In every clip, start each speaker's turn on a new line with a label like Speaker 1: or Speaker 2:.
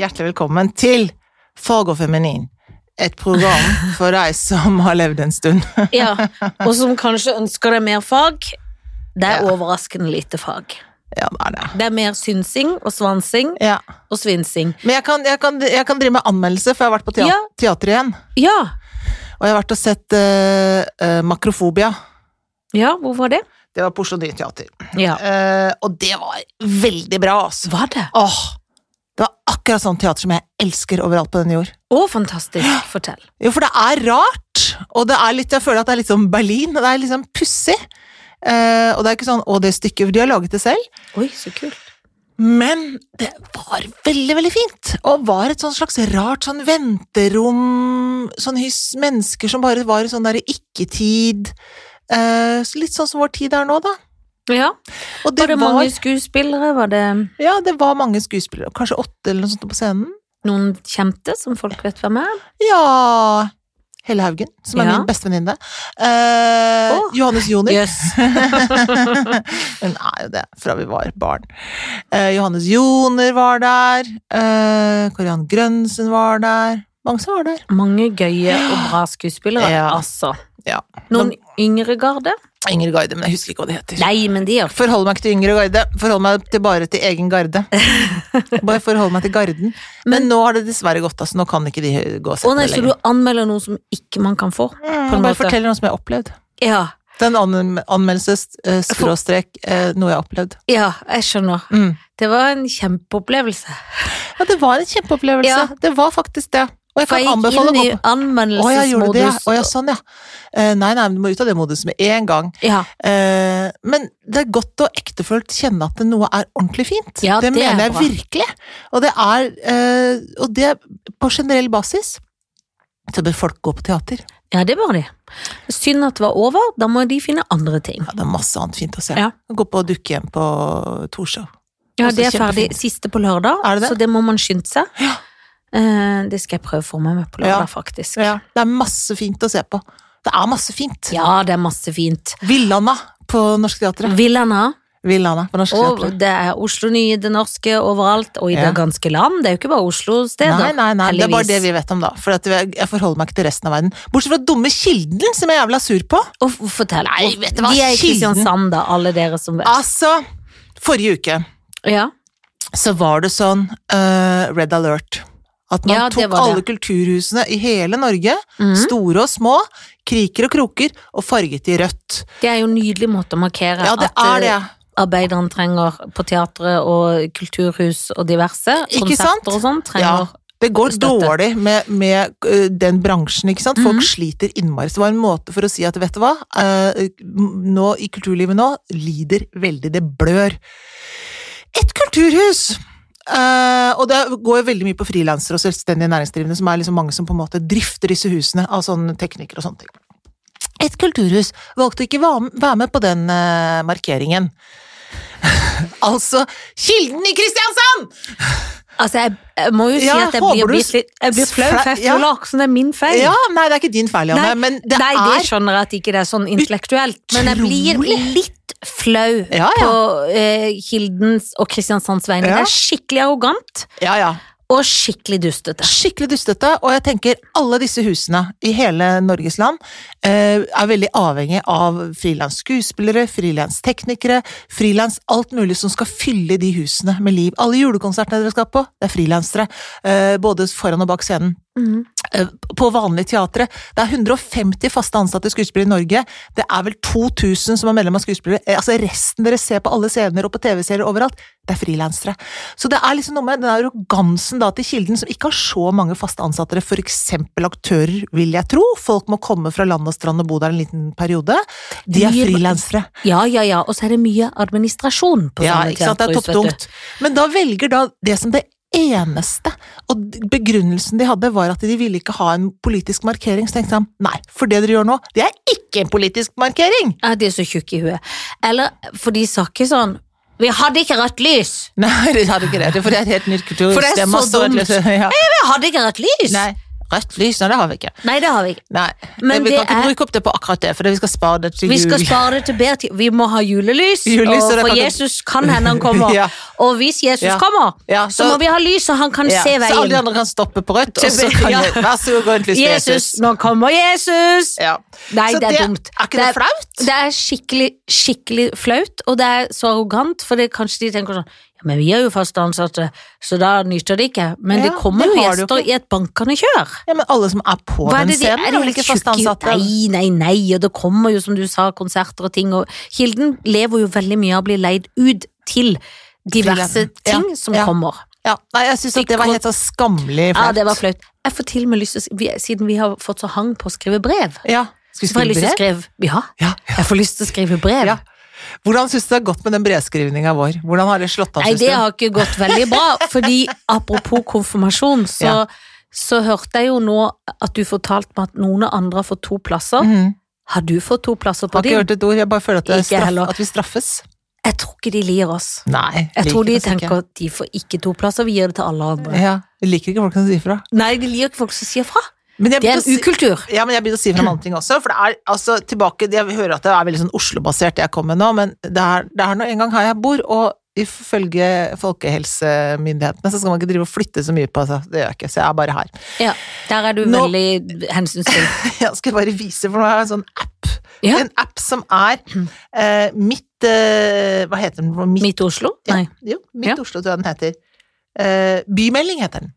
Speaker 1: Hjertelig velkommen til Fag og feminin. Et program for deg som har levd en stund.
Speaker 2: Ja, og som kanskje ønsker deg mer fag. Det er
Speaker 1: Ja.
Speaker 2: overraskende lite fag.
Speaker 1: Ja, det er det.
Speaker 2: Det er mer synsing og svansing
Speaker 1: Ja.
Speaker 2: og svinsing.
Speaker 1: Men jeg kan, jeg, kan, jeg kan drive med anmeldelse, for jeg har vært på teater,
Speaker 2: Ja.
Speaker 1: teater igjen.
Speaker 2: Ja,
Speaker 1: Og jeg har vært og sett eh, eh, Makrofobia.
Speaker 2: ja, hvor var det?
Speaker 1: Det var på Oslo Nye Teater.
Speaker 2: Ja.
Speaker 1: Eh, og det var veldig bra, altså.
Speaker 2: Var det?
Speaker 1: Åh, det var akkurat sånn teater som jeg elsker overalt på denne jord.
Speaker 2: Å, fantastisk. Fortell.
Speaker 1: Jo, for det er rart, og det er litt, jeg føler at det er litt som Berlin, og det er litt sånn pussig. Eh, og det er ikke sånn 'å, det stykket', for de har laget det selv.
Speaker 2: Oi, så kult.
Speaker 1: Men det var veldig, veldig fint, og var et sånn slags rart sånn venterom, sånn hys, mennesker som bare var i sånn derre ikke-tid. Eh, så litt sånn som vår tid er nå, da.
Speaker 2: Ja.
Speaker 1: Og det var,
Speaker 2: Var det mange skuespillere? Var det
Speaker 1: ja, det var mange skuespillere, kanskje åtte eller noe sånt på scenen.
Speaker 2: noen kjente som folk vet hvem er?
Speaker 1: Ja Helle Haugen, som er
Speaker 2: Ja.
Speaker 1: min bestevenninne. Eh,
Speaker 2: Åh.
Speaker 1: Johannes Joner.
Speaker 2: Jøss.
Speaker 1: Hun er jo det, fra vi var barn. Eh, Johannes Joner var der. Eh, Karianne Grønsen var der. Mange som var der.
Speaker 2: Mange gøye og bra skuespillere,
Speaker 1: Ja.
Speaker 2: altså.
Speaker 1: Ja.
Speaker 2: Noen yngre garde?
Speaker 1: Ingrid Garde, men jeg husker ikke hva de heter.
Speaker 2: Nei, men de er
Speaker 1: Forhold meg ikke til yngre garde, forhold meg til bare til egen garde. Bare forhold meg til garden. Men,
Speaker 2: Men-
Speaker 1: nå har det dessverre gått, altså. Nå kan ikke de gå og
Speaker 2: Å
Speaker 1: sette
Speaker 2: nei,
Speaker 1: det
Speaker 2: så du
Speaker 1: lenger.
Speaker 2: anmelder noen som ikke man kan få? på
Speaker 1: Mm,
Speaker 2: en
Speaker 1: bare
Speaker 2: måte.
Speaker 1: fortell noe som jeg har opplevd.
Speaker 2: Ja.
Speaker 1: Den anm- anmeldelses eh, skråstrek eh, noe jeg har opplevd.
Speaker 2: Ja, jeg skjønner.
Speaker 1: Mm.
Speaker 2: Det var en kjempeopplevelse.
Speaker 1: Ja, det var en kjempeopplevelse.
Speaker 2: Ja.
Speaker 1: Det var faktisk det. Og jeg
Speaker 2: For
Speaker 1: kan
Speaker 2: jeg gikk
Speaker 1: anbefale å
Speaker 2: inn
Speaker 1: gå
Speaker 2: i
Speaker 1: på Å ja, gjorde du det? ja?
Speaker 2: anmeldelsesmodus.
Speaker 1: Å ja, sånn ja. Eh, nei, nei, men du må ut av det moduset med en gang.
Speaker 2: Ja,
Speaker 1: Eh, men det er godt og ektefølt kjenne at noe er ordentlig fint.
Speaker 2: Ja, det er
Speaker 1: mener jeg
Speaker 2: bra.
Speaker 1: virkelig. Og det er eh, Og det på generell basis. Så bør folk gå på teater.
Speaker 2: ja, det var de. Synd at det var over, da må de finne andre ting.
Speaker 1: Ja, det er masse annet fint å se.
Speaker 2: Ja.
Speaker 1: Gå på dukkehjem på Torshov.
Speaker 2: Ja,
Speaker 1: Også
Speaker 2: det er ferdig
Speaker 1: kjempefint.
Speaker 2: siste på lørdag,
Speaker 1: Er det det?
Speaker 2: så det må man skynde seg. Eh, Det skal jeg prøve å få med meg på
Speaker 1: Ja.
Speaker 2: lørdag, faktisk.
Speaker 1: Ja. Det er masse fint å se på. Det er masse fint.
Speaker 2: Ja, det er masse fint.
Speaker 1: Villanda på Norsk Teatret.
Speaker 2: Villana,
Speaker 1: Villanda på Norsk
Speaker 2: og
Speaker 1: Teatret.
Speaker 2: det er Oslo Nye, det norske, overalt, og i
Speaker 1: Ja.
Speaker 2: det ganske land. Det er jo ikke bare Oslo-steder.
Speaker 1: Nei, nei, nei, det er bare
Speaker 2: heldigvis.
Speaker 1: det vi vet om, da. For at jeg jeg forholder meg ikke til resten av verden. Bortsett fra dumme Kilden, som jeg er jævla sur på.
Speaker 2: Og f- fortell.
Speaker 1: Nei, vet du hva,
Speaker 2: De er i
Speaker 1: kilden-
Speaker 2: Kristiansand, da, alle dere som vet.
Speaker 1: Altså, forrige uke
Speaker 2: Ja.
Speaker 1: så var det sånn eh, red alert. At man
Speaker 2: Ja, det
Speaker 1: tok
Speaker 2: var det.
Speaker 1: alle kulturhusene i hele Norge,
Speaker 2: Mhm.
Speaker 1: store og små, kriker og kroker, og farget i rødt.
Speaker 2: Det er jo en nydelig måte å markere
Speaker 1: Ja, det er
Speaker 2: at
Speaker 1: det.
Speaker 2: eh, arbeiderne trenger på teatret og kulturhus og diverse.
Speaker 1: Ikke sant?
Speaker 2: konserter og sånn trenger
Speaker 1: Det går
Speaker 2: Støtte.
Speaker 1: dårlig med, med eh, den bransjen, ikke sant. Folk
Speaker 2: Mhm.
Speaker 1: sliter innmari. Så det var en måte for å si at vet du hva, eh, nå i kulturlivet nå lider veldig, det blør. Et kulturhus! Eh, og det går jo veldig mye på frilansere og selvstendig næringsdrivende, som er liksom mange som på en måte drifter disse husene av sånne teknikere og sånne ting. Et kulturhus valgte å ikke va- være med på den eh, markeringen. altså Kilden i Kristiansand!
Speaker 2: Altså, jeg, jeg må jo si
Speaker 1: Ja,
Speaker 2: at jeg
Speaker 1: håper
Speaker 2: blir,
Speaker 1: du
Speaker 2: blitt litt Jeg blir flau,
Speaker 1: flau-
Speaker 2: for jeg
Speaker 1: ja.
Speaker 2: føler akkurat som det er min feil.
Speaker 1: Ja, nei, det er ikke din feil, Janne,
Speaker 2: Nei,
Speaker 1: men det
Speaker 2: Nei, det
Speaker 1: er
Speaker 2: skjønner jeg at ikke det er sånn intellektuelt, men jeg blir
Speaker 1: Utrolig.
Speaker 2: litt flau
Speaker 1: Ja, ja.
Speaker 2: på eh, Kildens og Kristiansands vegne.
Speaker 1: Ja.
Speaker 2: Det er skikkelig arrogant
Speaker 1: ja, ja.
Speaker 2: og skikkelig dustete.
Speaker 1: skikkelig dustete, og jeg tenker alle disse husene i hele Norges land eh, er veldig avhengig av frilans skuespillere, frilans teknikere, frilans alt mulig som skal fylle de husene med liv. Alle julekonsertene dere skal på, det er frilansere, eh, både foran og bak scenen.
Speaker 2: Mhm.
Speaker 1: Eh, På vanlige teatre. Det er 150 faste ansatte skuespillere i Norge. Det er vel 2000 som er medlem av skuespillere. Eh, Altså Resten dere ser på alle scener og på TV-serier overalt, det er frilansere. Så det er liksom noe med den arrogansen da til Kilden, som ikke har så mange faste ansatte, f.eks. aktører, vil jeg tro. Folk må komme fra land og strand og bo der en liten periode. De er
Speaker 2: Mye-
Speaker 1: frilansere.
Speaker 2: Ja, ja, ja, og så er det mye administrasjon på
Speaker 1: Ja,
Speaker 2: sånne
Speaker 1: ikke sant, det er
Speaker 2: teaterhus, vet du.
Speaker 1: topptungt. Men da velger da det som det eneste, og d- begrunnelsen de hadde var at de ville ikke ha en politisk markering, så tenkte han nei, for det dere gjør nå, det er ikke en politisk markering!
Speaker 2: Ja, de er så tjukke i huet. Eller, for de sa ikke sånn Vi hadde ikke rødt lys!
Speaker 1: Nei, de hadde ikke det, for det er et helt nytt kultursystem.
Speaker 2: For det er så
Speaker 1: masse-
Speaker 2: dumt.
Speaker 1: Ja.
Speaker 2: Vi hadde ikke rødt lys!
Speaker 1: Nei. Rødt lys, nei, det har vi ikke.
Speaker 2: Nei, det har vi ikke.
Speaker 1: Nei,
Speaker 2: Men
Speaker 1: vi kan
Speaker 2: det
Speaker 1: ikke
Speaker 2: er-
Speaker 1: bruke opp det på akkurat det, for vi skal spare det til
Speaker 2: Vi
Speaker 1: jul.
Speaker 2: skal spare det til bedre tid. Vi må ha julelys,
Speaker 1: Julelys, og det
Speaker 2: og for
Speaker 1: kan-
Speaker 2: Jesus kan hende han kommer.
Speaker 1: Ja.
Speaker 2: Og hvis Jesus
Speaker 1: Ja.
Speaker 2: kommer,
Speaker 1: Ja,
Speaker 2: så, må vi ha lys, så han kan
Speaker 1: ja,
Speaker 2: se
Speaker 1: Så alle de
Speaker 2: veien.
Speaker 1: andre kan stoppe på rødt,
Speaker 2: Til
Speaker 1: og så kan
Speaker 2: ja.
Speaker 1: jeg, vær så god, gå rundt lys til
Speaker 2: Jesus, nå kommer Jesus!
Speaker 1: Ja.
Speaker 2: Nei,
Speaker 1: så
Speaker 2: det er dumt.
Speaker 1: Er ikke det, flaut?
Speaker 2: Det er skikkelig, skikkelig flaut, og det er så arrogant, for det kanskje de tenker sånn ja, men vi er jo fast ansatte, så da nyter det ikke.
Speaker 1: Ja,
Speaker 2: Men det kommer
Speaker 1: det
Speaker 2: jo
Speaker 1: har det jo
Speaker 2: gjester i et bankende kjør.
Speaker 1: Ja, men alle som er på
Speaker 2: Hva er
Speaker 1: den
Speaker 2: det de-
Speaker 1: scenen,
Speaker 2: er
Speaker 1: er
Speaker 2: de
Speaker 1: vel ikke fast
Speaker 2: tjukke-
Speaker 1: ansatte?
Speaker 2: Nei, nei, nei, og det kommer jo, som du sa, konserter og ting, og Kilden lever jo veldig mye av å bli leid ut til diverse
Speaker 1: Frilansere. Ja,
Speaker 2: ting som
Speaker 1: ja.
Speaker 2: kommer.
Speaker 1: Ja, nei, jeg syns at det var helt så skammelig flaut.
Speaker 2: Ja, det var flaut. Jeg får til og med lyst til å s- vi- Siden vi har fått så hang på å skrive brev,
Speaker 1: Ja. Skal vi
Speaker 2: så får jeg lyst
Speaker 1: skrive
Speaker 2: til å
Speaker 1: brev?
Speaker 2: skrive Ja,
Speaker 1: Ja.
Speaker 2: jeg får lyst til å skrive brev.
Speaker 1: Ja. Hvordan syns du det har gått med den brevskrivninga vår? Hvordan har det slått an?
Speaker 2: Nei,
Speaker 1: synes
Speaker 2: det
Speaker 1: du?
Speaker 2: har ikke gått veldig bra, fordi apropos konfirmasjon, så,
Speaker 1: Ja.
Speaker 2: så hørte jeg jo nå at du fortalte meg at noen andre har fått to plasser.
Speaker 1: Mhm.
Speaker 2: Har du fått to plasser på
Speaker 1: Har ikke
Speaker 2: din?
Speaker 1: hørt et ord, jeg bare føler at, det er
Speaker 2: Ikke heller.
Speaker 1: straff, at vi straffes.
Speaker 2: Jeg tror ikke de lir oss.
Speaker 1: Nei.
Speaker 2: Jeg
Speaker 1: liker
Speaker 2: tror de
Speaker 1: oss ikke.
Speaker 2: tenker at de får ikke to plasser, vi gir det til alle andre.
Speaker 1: Ja, Vi liker ikke folk som sier fra.
Speaker 2: Nei, de liker ikke folk som sier fra.
Speaker 1: Men jeg
Speaker 2: Det er
Speaker 1: begynte å si-
Speaker 2: en ukultur.
Speaker 1: Ja, men jeg begynte å si fra om andre ting også, for det er altså tilbake Jeg hører at det er veldig sånn Oslo-basert det jeg kommer med nå, men det er, det er nå en gang her jeg bor, og ifølge folkehelsemyndighetene så skal man ikke drive og flytte så mye på seg, det gjør jeg ikke, så jeg er bare her.
Speaker 2: Ja, der er du
Speaker 1: Nå-
Speaker 2: veldig hensynsfull.
Speaker 1: Jeg skal bare vise, for nå har jeg en sånn app.
Speaker 2: Ja.
Speaker 1: En app som er eh, mitt eh, Hva heter den? Mitt,
Speaker 2: Midt Oslo?
Speaker 1: Ja,
Speaker 2: Nei.
Speaker 1: Jo, Mitt
Speaker 2: Ja.
Speaker 1: Oslo, tror jeg den heter. Eh, bymelding Mm. heter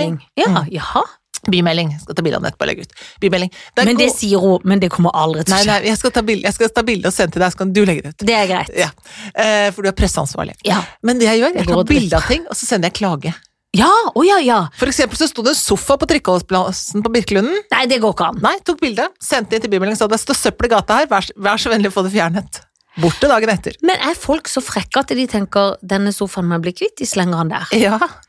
Speaker 1: den.
Speaker 2: Ja, jaha.
Speaker 1: Bymelding. Skal ta bilde av den etterpå og legge ut. Bymelding. Det er
Speaker 2: Men det
Speaker 1: god-
Speaker 2: sier hun, men det kommer aldri til å
Speaker 1: Nei,
Speaker 2: skje.
Speaker 1: nei, jeg skal ta bilde, jeg skal ta bilde og sende til deg, så kan du legge det ut.
Speaker 2: Det er greit.
Speaker 1: Ja, eh, For du er presseansvarlig.
Speaker 2: Ja,
Speaker 1: Men det jeg gjør, jeg
Speaker 2: Det går
Speaker 1: tar
Speaker 2: dritt.
Speaker 1: bilde av ting, og så sender jeg klage.
Speaker 2: ja, å ja, ja.
Speaker 1: For eksempel så sto det en sofa på Trikkeholdsplassen på Birkelunden.
Speaker 2: Nei, det går ikke an.
Speaker 1: Nei, tok bilde, sendte inn til Bymelding, sa det står søppel i gata her, vær, vær så vennlig å få det fjernet. Borte dagen etter.
Speaker 2: Men er folk så frekke at de tenker denne sofaen må jeg bli kvitt, de slenger den der?
Speaker 1: Ja, så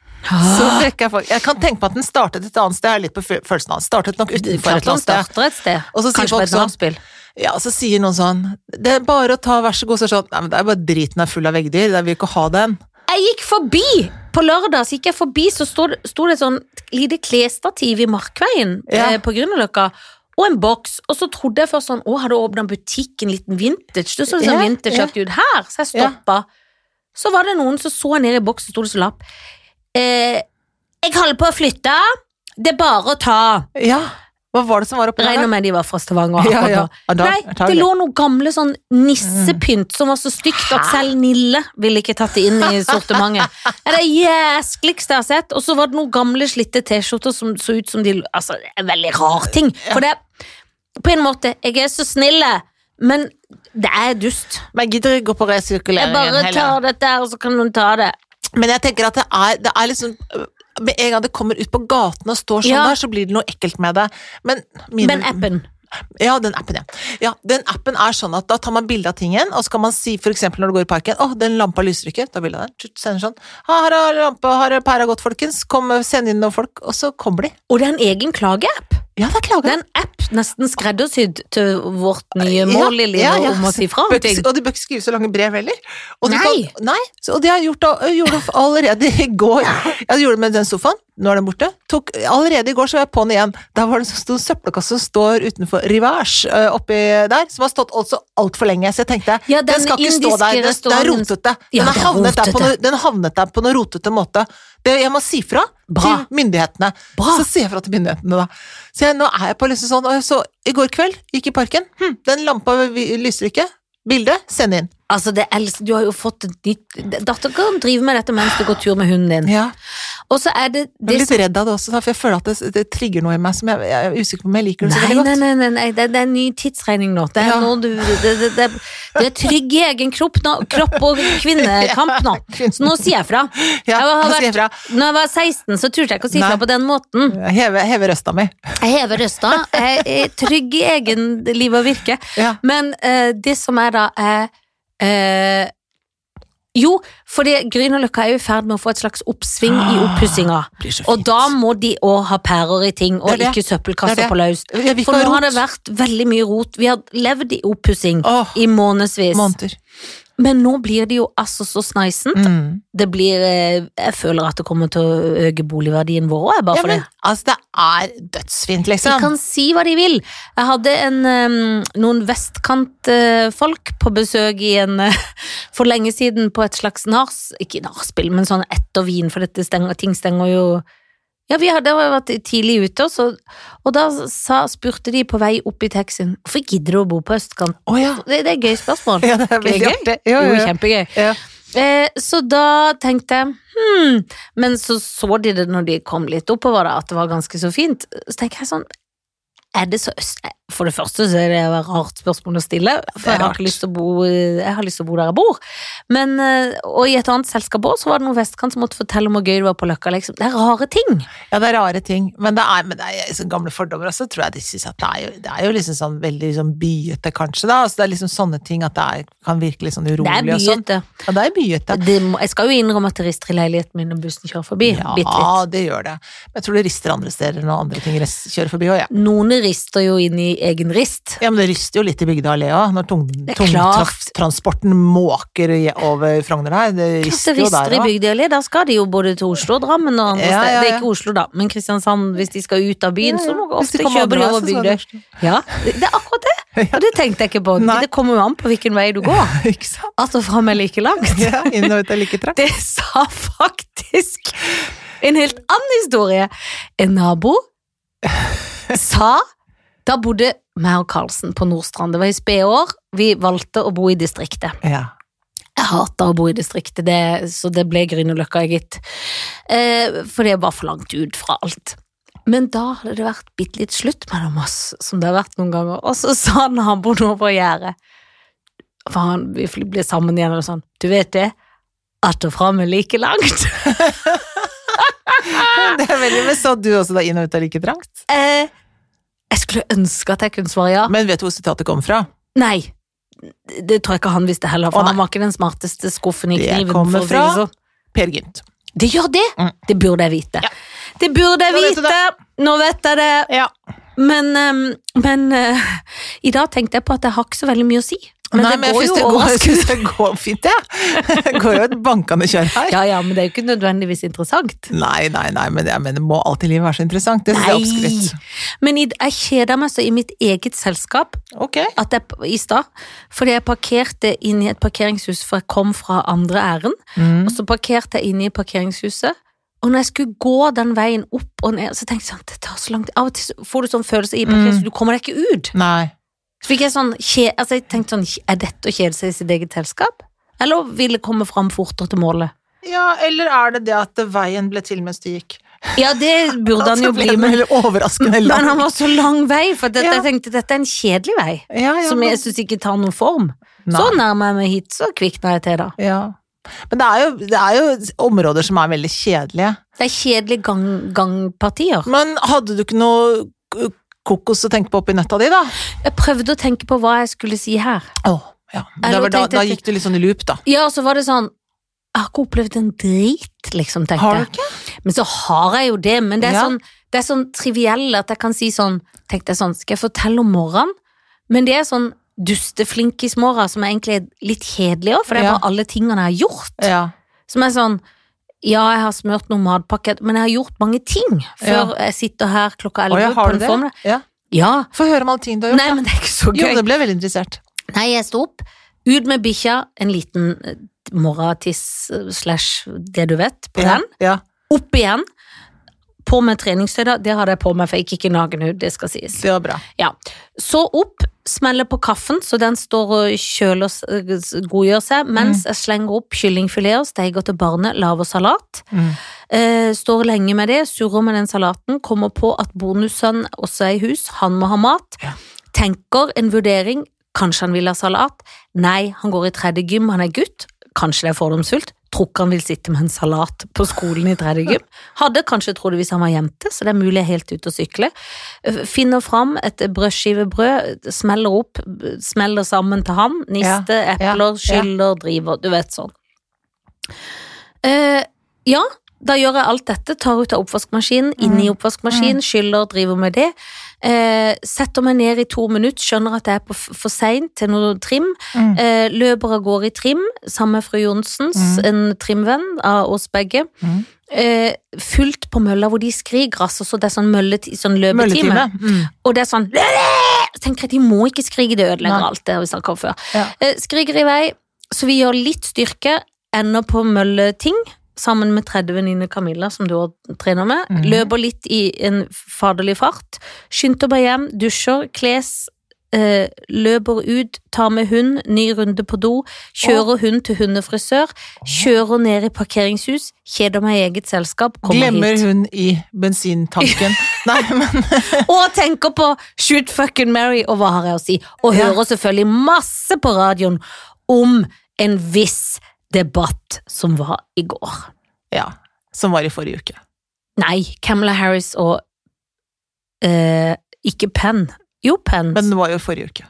Speaker 2: Ah,
Speaker 1: frekker jeg folk. Jeg kan tenke på at den startet et annet sted, jeg er litt på fø- følelsen av den. Startet nok
Speaker 2: det
Speaker 1: utenfor
Speaker 2: er
Speaker 1: et eller
Speaker 2: Klart man
Speaker 1: annet sted.
Speaker 2: starter et sted.
Speaker 1: Og så sier
Speaker 2: Kanskje
Speaker 1: folk
Speaker 2: på et
Speaker 1: sånn-
Speaker 2: nachspiel.
Speaker 1: Ja, og så sier noen sånn, det er bare å ta, vær så god, så er det sånn, nei, men det er bare driten er full av veggdyr, jeg vil ikke ha den.
Speaker 2: Jeg gikk forbi på lørdag, så gikk jeg forbi, så sto det, sto det et sånn lite klesstativ i Markveien
Speaker 1: Ja.
Speaker 2: eh, på Grünerløkka. Og en boks. Og så trodde jeg først sånn Å, har du åpna butikk, en liten vintage? Det så litt sånn
Speaker 1: Ja,
Speaker 2: vintageaktig ut her, så jeg
Speaker 1: Ja.
Speaker 2: stoppa. Så var det noen som så ned i boksen, sto det så lapp. Eh, jeg holder på å flytte. Det er bare å ta.
Speaker 1: Ja, hva var det som var oppe
Speaker 2: Regner med de var fra Stavanger.
Speaker 1: Ja,
Speaker 2: akkurat
Speaker 1: ja.
Speaker 2: nå.
Speaker 1: Ja, da-
Speaker 2: Nei, det
Speaker 1: antagelig.
Speaker 2: lå noe gamle sånn nissepynt som var så stygt at selv Nille ville ikke tatt det inn i sortimentet. Det er det jæskligste jeg har sett. Og så var det noen gamle slitte T-skjorter som så ut som de Altså, det er en veldig rar ting. For det På en måte, jeg er så snille, men det er dust.
Speaker 1: Men jeg gidder ikke gå på
Speaker 2: Jeg
Speaker 1: resirkuleringen
Speaker 2: bare tar dette her, og så kan noen ta det.
Speaker 1: Men jeg tenker at det er, det er liksom øh, Med en gang det kommer ut på gaten og står sånn
Speaker 2: Ja.
Speaker 1: der, så blir det noe ekkelt med det. Men, min-
Speaker 2: Men appen.
Speaker 1: Ja, den appen, ja. ja. Den appen er sånn at da tar man bilde av tingen, og så kan man si for eksempel når du går i parken 'Å, den lampa lyser ikke.' Ta bilde av den. tut, Sender sånn. «Ha, 'Her har lampa, her har pæra gått, folkens. Kom, send inn noen folk.' Og så kommer de.
Speaker 2: Og det er en egen klageapp.
Speaker 1: Ja, det er klager.
Speaker 2: Det er en app nesten skreddersydd til vårt nye mål i livet
Speaker 1: Ja, ja, ja.
Speaker 2: om å si fra om
Speaker 1: Bør ikke-
Speaker 2: ting.
Speaker 1: Og de bør ikke skrive så lange brev heller. Og de
Speaker 2: Nei.
Speaker 1: Kan, nei. Så, og det har jeg gjort, da- gjorde det allerede i går. Jeg gjorde det med den sofaen, nå er den borte. Tok, allerede i går så var jeg på den igjen. Der var det en stor søppelkasse som står utenfor Rivers øh, oppi der, som har stått altså altfor lenge. Så jeg tenkte,
Speaker 2: Ja,
Speaker 1: den
Speaker 2: den
Speaker 1: skal ikke stå
Speaker 2: indiske
Speaker 1: der, den, den er
Speaker 2: restauranten-
Speaker 1: rotete. Den,
Speaker 2: Ja,
Speaker 1: har
Speaker 2: det er
Speaker 1: havnet der på
Speaker 2: rotete.
Speaker 1: noe, den havnet der på noen rotete måte. Det, jeg må si fra
Speaker 2: Bra.
Speaker 1: til myndighetene.
Speaker 2: Bra.
Speaker 1: Så sier jeg fra til myndighetene, da. Så jeg, nå er jeg på liksom sånn, og så i går kveld gikk i parken, hm, den lampa vi- lyser ikke, bildet, send inn.
Speaker 2: Altså, det eldste, du har jo fått et nytt Datteren kan drive med dette mens du går tur med hunden din.
Speaker 1: Ja,
Speaker 2: Og så er det,
Speaker 1: jeg
Speaker 2: det
Speaker 1: er litt redd av det også, da, for jeg føler at det, det trigger noe i meg som jeg, jeg er usikker på om jeg liker det så
Speaker 2: Nei,
Speaker 1: veldig
Speaker 2: nei,
Speaker 1: godt.
Speaker 2: nei, nei, nei. Det, det er en ny tidsregning nå. Det er,
Speaker 1: Ja.
Speaker 2: nå du, det, det, det, det er trygg i egen kropp, nå, kropp og kvinnekamp nå. Så nå sier jeg fra.
Speaker 1: Ja,
Speaker 2: Jeg har
Speaker 1: nå sier jeg fra.
Speaker 2: Når jeg var 16, så turte jeg ikke å si
Speaker 1: Nei.
Speaker 2: fra på den måten.
Speaker 1: Jeg hever, hever røsta mi.
Speaker 2: Jeg hever røsta. Jeg er trygg i egen liv og virke.
Speaker 1: Ja.
Speaker 2: Men eh, det som er da, er eh, Jo, fordi Grünerløkka er jo i ferd med å få et slags oppsving i
Speaker 1: Ah,
Speaker 2: oppussinga.
Speaker 1: Blir så
Speaker 2: Og da må de òg ha pærer i ting, og
Speaker 1: Det er det. Det
Speaker 2: ikke
Speaker 1: er
Speaker 2: søppelkasser
Speaker 1: det.
Speaker 2: på løst.
Speaker 1: Jeg vil
Speaker 2: For
Speaker 1: ikke ha
Speaker 2: nå har det
Speaker 1: rot.
Speaker 2: vært veldig mye rot. Vi har levd i oppussing
Speaker 1: Åh,
Speaker 2: i månedsvis.
Speaker 1: måneder.
Speaker 2: Men nå blir det jo altså så sneisent.
Speaker 1: Mm.
Speaker 2: Det blir eh, Jeg føler at det kommer til å øke boligverdien vår òg, bare
Speaker 1: Ja,
Speaker 2: for
Speaker 1: men
Speaker 2: det.
Speaker 1: altså, det er dødsfint,
Speaker 2: De
Speaker 1: liksom.
Speaker 2: kan si hva de vil. Jeg hadde en, eh, noen vestkantfolk på besøk i en eh, For lenge siden på et slags nach... Ikke nachspiel, men sånn etter vin, for dette stenger, ting stenger jo Ja, vi hadde vært tidlig ute, og så- og da sa, spurte de på vei opp i taxien Hvorfor gidder du å bo på østkant?
Speaker 1: Å ja.
Speaker 2: Det, det er et gøy spørsmål.
Speaker 1: ja. Det er veldig
Speaker 2: gøy?
Speaker 1: artig. Jo,
Speaker 2: Jo,
Speaker 1: jo, jo.
Speaker 2: kjempegøy.
Speaker 1: Ja.
Speaker 2: Eh, så da tenkte jeg hmm. Men så så de det når de kom litt oppover, da, at det var ganske så fint. Så tenker jeg sånn er det så øst... eh, For det første så er det et rart spørsmål å stille,
Speaker 1: Det er
Speaker 2: for jeg har,
Speaker 1: rart.
Speaker 2: ikke lyst til å bo, jeg har lyst til å bo der jeg bor. Men, eh, og i et annet selskap også, så var det noen vestkant som måtte fortelle om hvor gøy det var på Løkka. Liksom. Det er rare ting.
Speaker 1: ja, det er rare ting. Men det er, men det er sånn gamle fordommer også, tror jeg de syns at det er jo, det er jo liksom sånn veldig sånn byete, kanskje. da. Altså, det er liksom sånne ting at det er, kan virke litt sånn
Speaker 2: Det er
Speaker 1: urolig og sånn.
Speaker 2: byete.
Speaker 1: Ja, det er byete.
Speaker 2: Det må- Jeg skal jo innrømme at det rister i leiligheten min når bussen kjører forbi.
Speaker 1: Ja,
Speaker 2: Bitte litt.
Speaker 1: det gjør det. Men jeg tror det rister andre steder når andre ting res- kjører forbi òg, jeg. Ja.
Speaker 2: Noen rister jo inn i egen rist.
Speaker 1: Ja, men det ryster jo litt i Bygdøy allé òg, når tung-
Speaker 2: Det er klart.
Speaker 1: tungtransporten måker i- over Frogner her. Det rister jo der
Speaker 2: i
Speaker 1: òg.
Speaker 2: Bygdøyli, da skal de jo både til Oslo og Drammen og andre
Speaker 1: Ja, ja,
Speaker 2: steder. Det er
Speaker 1: ja.
Speaker 2: ikke Oslo, da, men Kristiansand, hvis de skal ut av byen, så må
Speaker 1: Hvis de
Speaker 2: ofte
Speaker 1: kommer
Speaker 2: kjøper de
Speaker 1: andre
Speaker 2: over
Speaker 1: veien, så skal
Speaker 2: Bygdøy.
Speaker 1: det til
Speaker 2: Ja, det det er akkurat det, og det tenkte jeg ikke på.
Speaker 1: Nei.
Speaker 2: Det kommer jo an på hvilken vei du går.
Speaker 1: Oslo. Ikke sant?
Speaker 2: At og fram er like langt.
Speaker 1: Ja, inn og ut er like trakt.
Speaker 2: Det sa faktisk en helt annen historie. En nabo sa Da bodde meg og Karlsen på Nordstrand. Det var i spede år. Vi valgte å bo i distriktet.
Speaker 1: Ja.
Speaker 2: Jeg hater å bo i distriktet, det, så det ble Grünerløkka, gitt. Eh, for det er bare for langt ut fra alt. Men da hadde det vært bitte litt slutt mellom oss, som det har vært noen ganger. Og så sa naboen over gjerdet For han, vi fly- blir sammen igjen, og sånn. Du vet det? Att og fram er like langt.
Speaker 1: Det er veldig Men så du også da inn og ut er like trangt?
Speaker 2: Eh, jeg skulle ønske at jeg kunne svare ja.
Speaker 1: Men vet du hvor sitatet kom fra?
Speaker 2: Nei. Det tror jeg ikke han visste heller,
Speaker 1: Å,
Speaker 2: for
Speaker 1: nei.
Speaker 2: han var ikke den smarteste skuffen i
Speaker 1: Det
Speaker 2: kniven.
Speaker 1: kommer
Speaker 2: for å si det
Speaker 1: fra-
Speaker 2: sånn.
Speaker 1: Per Gynt.
Speaker 2: Det gjør det!
Speaker 1: Mm.
Speaker 2: Det burde jeg vite.
Speaker 1: Ja.
Speaker 2: Det burde
Speaker 1: Da
Speaker 2: jeg
Speaker 1: vet du
Speaker 2: vite! Nå vet jeg det.
Speaker 1: Ja.
Speaker 2: Men, ehm, men eh, i dag tenkte jeg på at jeg har ikke så veldig mye å si. Men
Speaker 1: Nei,
Speaker 2: det
Speaker 1: men jeg
Speaker 2: går
Speaker 1: syns
Speaker 2: jo
Speaker 1: det, går- jeg
Speaker 2: overraskende.
Speaker 1: synes det går fint, jeg. Det går jo et bankende kjør her.
Speaker 2: Ja, ja, men det er jo ikke nødvendigvis interessant.
Speaker 1: Nei, nei, nei, men jeg mener, må alltid livet være så interessant? Det syns jeg er oppskrytt.
Speaker 2: Men i, jeg kjeder meg så i mitt eget selskap
Speaker 1: Ok.
Speaker 2: at jeg, i stad, fordi jeg parkerte inn i et parkeringshus for jeg kom fra andre ærend,
Speaker 1: Mm.
Speaker 2: og så parkerte jeg inne i parkeringshuset. Og når jeg skulle gå den veien opp og ned, så tenkte jeg sånn, det tar så lang tid. Av og til så får du sånn
Speaker 1: Mm.
Speaker 2: følelse i parkeringshuset, du kommer deg ikke ut.
Speaker 1: Nei.
Speaker 2: Så fikk jeg sånn kje, altså jeg tenkte sånn, er dette å kjede seg i sitt eget selskap? Eller ville komme fram fortere til målet?
Speaker 1: Ja, eller er det det at veien ble til mens du gikk?
Speaker 2: Ja, det burde han jo bli, men,
Speaker 1: Eller overraskende
Speaker 2: men
Speaker 1: lang.
Speaker 2: han var så lang vei, for dette,
Speaker 1: Ja.
Speaker 2: jeg tenkte dette er en kjedelig vei,
Speaker 1: Ja, ja,
Speaker 2: som
Speaker 1: men-
Speaker 2: jeg sånn. syns ikke tar noen form.
Speaker 1: Nei.
Speaker 2: Så nærmer jeg meg hit, så kvikner jeg til da.
Speaker 1: ja. Men det er, jo, det er jo områder som er veldig kjedelige.
Speaker 2: Det er kjedelige gang, gangpartier.
Speaker 1: Men hadde du ikke noe k- kokos å tenke på oppi nøtta di, da?
Speaker 2: Jeg prøvde å tenke på hva jeg skulle si her.
Speaker 1: Åh, ja. Men
Speaker 2: Jeg
Speaker 1: det var da,
Speaker 2: tenkte
Speaker 1: da
Speaker 2: at-
Speaker 1: gikk du litt sånn i loop, da.
Speaker 2: Ja, og så var det sånn, jeg har ikke opplevd en drit, liksom, tenkte jeg.
Speaker 1: Har du ikke?
Speaker 2: Men så har jeg jo det, men det er,
Speaker 1: Ja.
Speaker 2: sånn, det er sånn triviell at jeg kan si sånn Tenkte jeg sånn, skal jeg fortelle om morgenen? Men det er sånn dusteflinkismorgen som er egentlig er litt kjedelig òg, for det er
Speaker 1: Ja.
Speaker 2: bare alle tingene jeg har gjort.
Speaker 1: Ja.
Speaker 2: Som er sånn Ja, jeg har smurt noen matpakker, men jeg har gjort mange ting før jeg sitter her klokka
Speaker 1: Å,
Speaker 2: elleve
Speaker 1: ja,
Speaker 2: på
Speaker 1: har
Speaker 2: en
Speaker 1: du det?
Speaker 2: formiddag.
Speaker 1: Ja.
Speaker 2: Ja.
Speaker 1: Få høre om alle ting du har gjort.
Speaker 2: Nei, men det er ikke så
Speaker 1: Jo,
Speaker 2: gøy.
Speaker 1: det ble jeg veldig interessert.
Speaker 2: Nei, jeg sto opp, ut med bikkja, en liten eh, morgentiss eh, slash det du vet, på den
Speaker 1: Ja.
Speaker 2: opp igjen. På med treningstøy, da. Det hadde jeg på meg, for jeg gikk ikke naken ut. det skal sies.
Speaker 1: Det var bra.
Speaker 2: Ja. Så opp, smelle på kaffen, så den står og kjøler s- eh, s- godgjør seg, mens jeg slenger opp kyllingfileter, steiger til barnet, lager salat.
Speaker 1: Mm.
Speaker 2: Eh, står lenge med det, surrer med den salaten, kommer på at bonussønn også er i hus, han må ha mat.
Speaker 1: Ja.
Speaker 2: Tenker en vurdering, kanskje han vil ha salat. Nei, han går i tredje gym, han er gutt. Kanskje det er fordomsfullt. Tror ikke han vil sitte med en salat på skolen i tredje gym. Hadde kanskje trodd det hvis han var jente, så det er mulig jeg er helt ute å sykle. Finner fram et brødskivebrød, smeller opp, smeller sammen til han. Niste,
Speaker 1: ja,
Speaker 2: epler,
Speaker 1: ja.
Speaker 2: skyller, driver, du vet sånn. Eh, ja, da gjør jeg alt dette. Tar ut av oppvaskmaskinen,
Speaker 1: Mm.
Speaker 2: inn i oppvaskmaskinen, skyller, driver med det. Eh, setter meg ned i to minutter, skjønner at jeg er på f- for sein til noe trim.
Speaker 1: Mm.
Speaker 2: Eh, løper av gårde i trim, sammen med fru Johnsens,
Speaker 1: Mm.
Speaker 2: en trimvenn av oss begge.
Speaker 1: Mm.
Speaker 2: Eh, fullt på mølla hvor de skriker, altså, så det er sånn, mølleti, sånn løpetime.
Speaker 1: Mølletime. Mm.
Speaker 2: Og det er sånn Så tenker jeg, De må ikke skrike, det ødelegger
Speaker 1: Nei.
Speaker 2: alt. det har vi snakket om før
Speaker 1: Ja.
Speaker 2: Eh, Skriker i vei, så vi gjør litt styrke, ender på mølleting. Sammen med tredje venninne Camilla, som du også trener med.
Speaker 1: Mhm.
Speaker 2: Løper litt i en faderlig fart. Skynder meg hjem, dusjer, kles. eh, løper ut, tar med hund, ny runde på do. Kjører hund til hundefrisør. Kjører ned i parkeringshus. Kjeder meg i eget selskap. Kommer
Speaker 1: Glemmer
Speaker 2: hit.
Speaker 1: hun i bensintanken. Nei, men
Speaker 2: Og tenker på Shoot fucking Mary og hva har jeg å si. Og
Speaker 1: Ja.
Speaker 2: hører selvfølgelig masse på radioen om en viss debatt som var i går.
Speaker 1: Ja. Som var i forrige uke.
Speaker 2: Nei, Camilla Harris og eh, Ikke Penn. Jo, Penn.
Speaker 1: Men det var jo i forrige uke.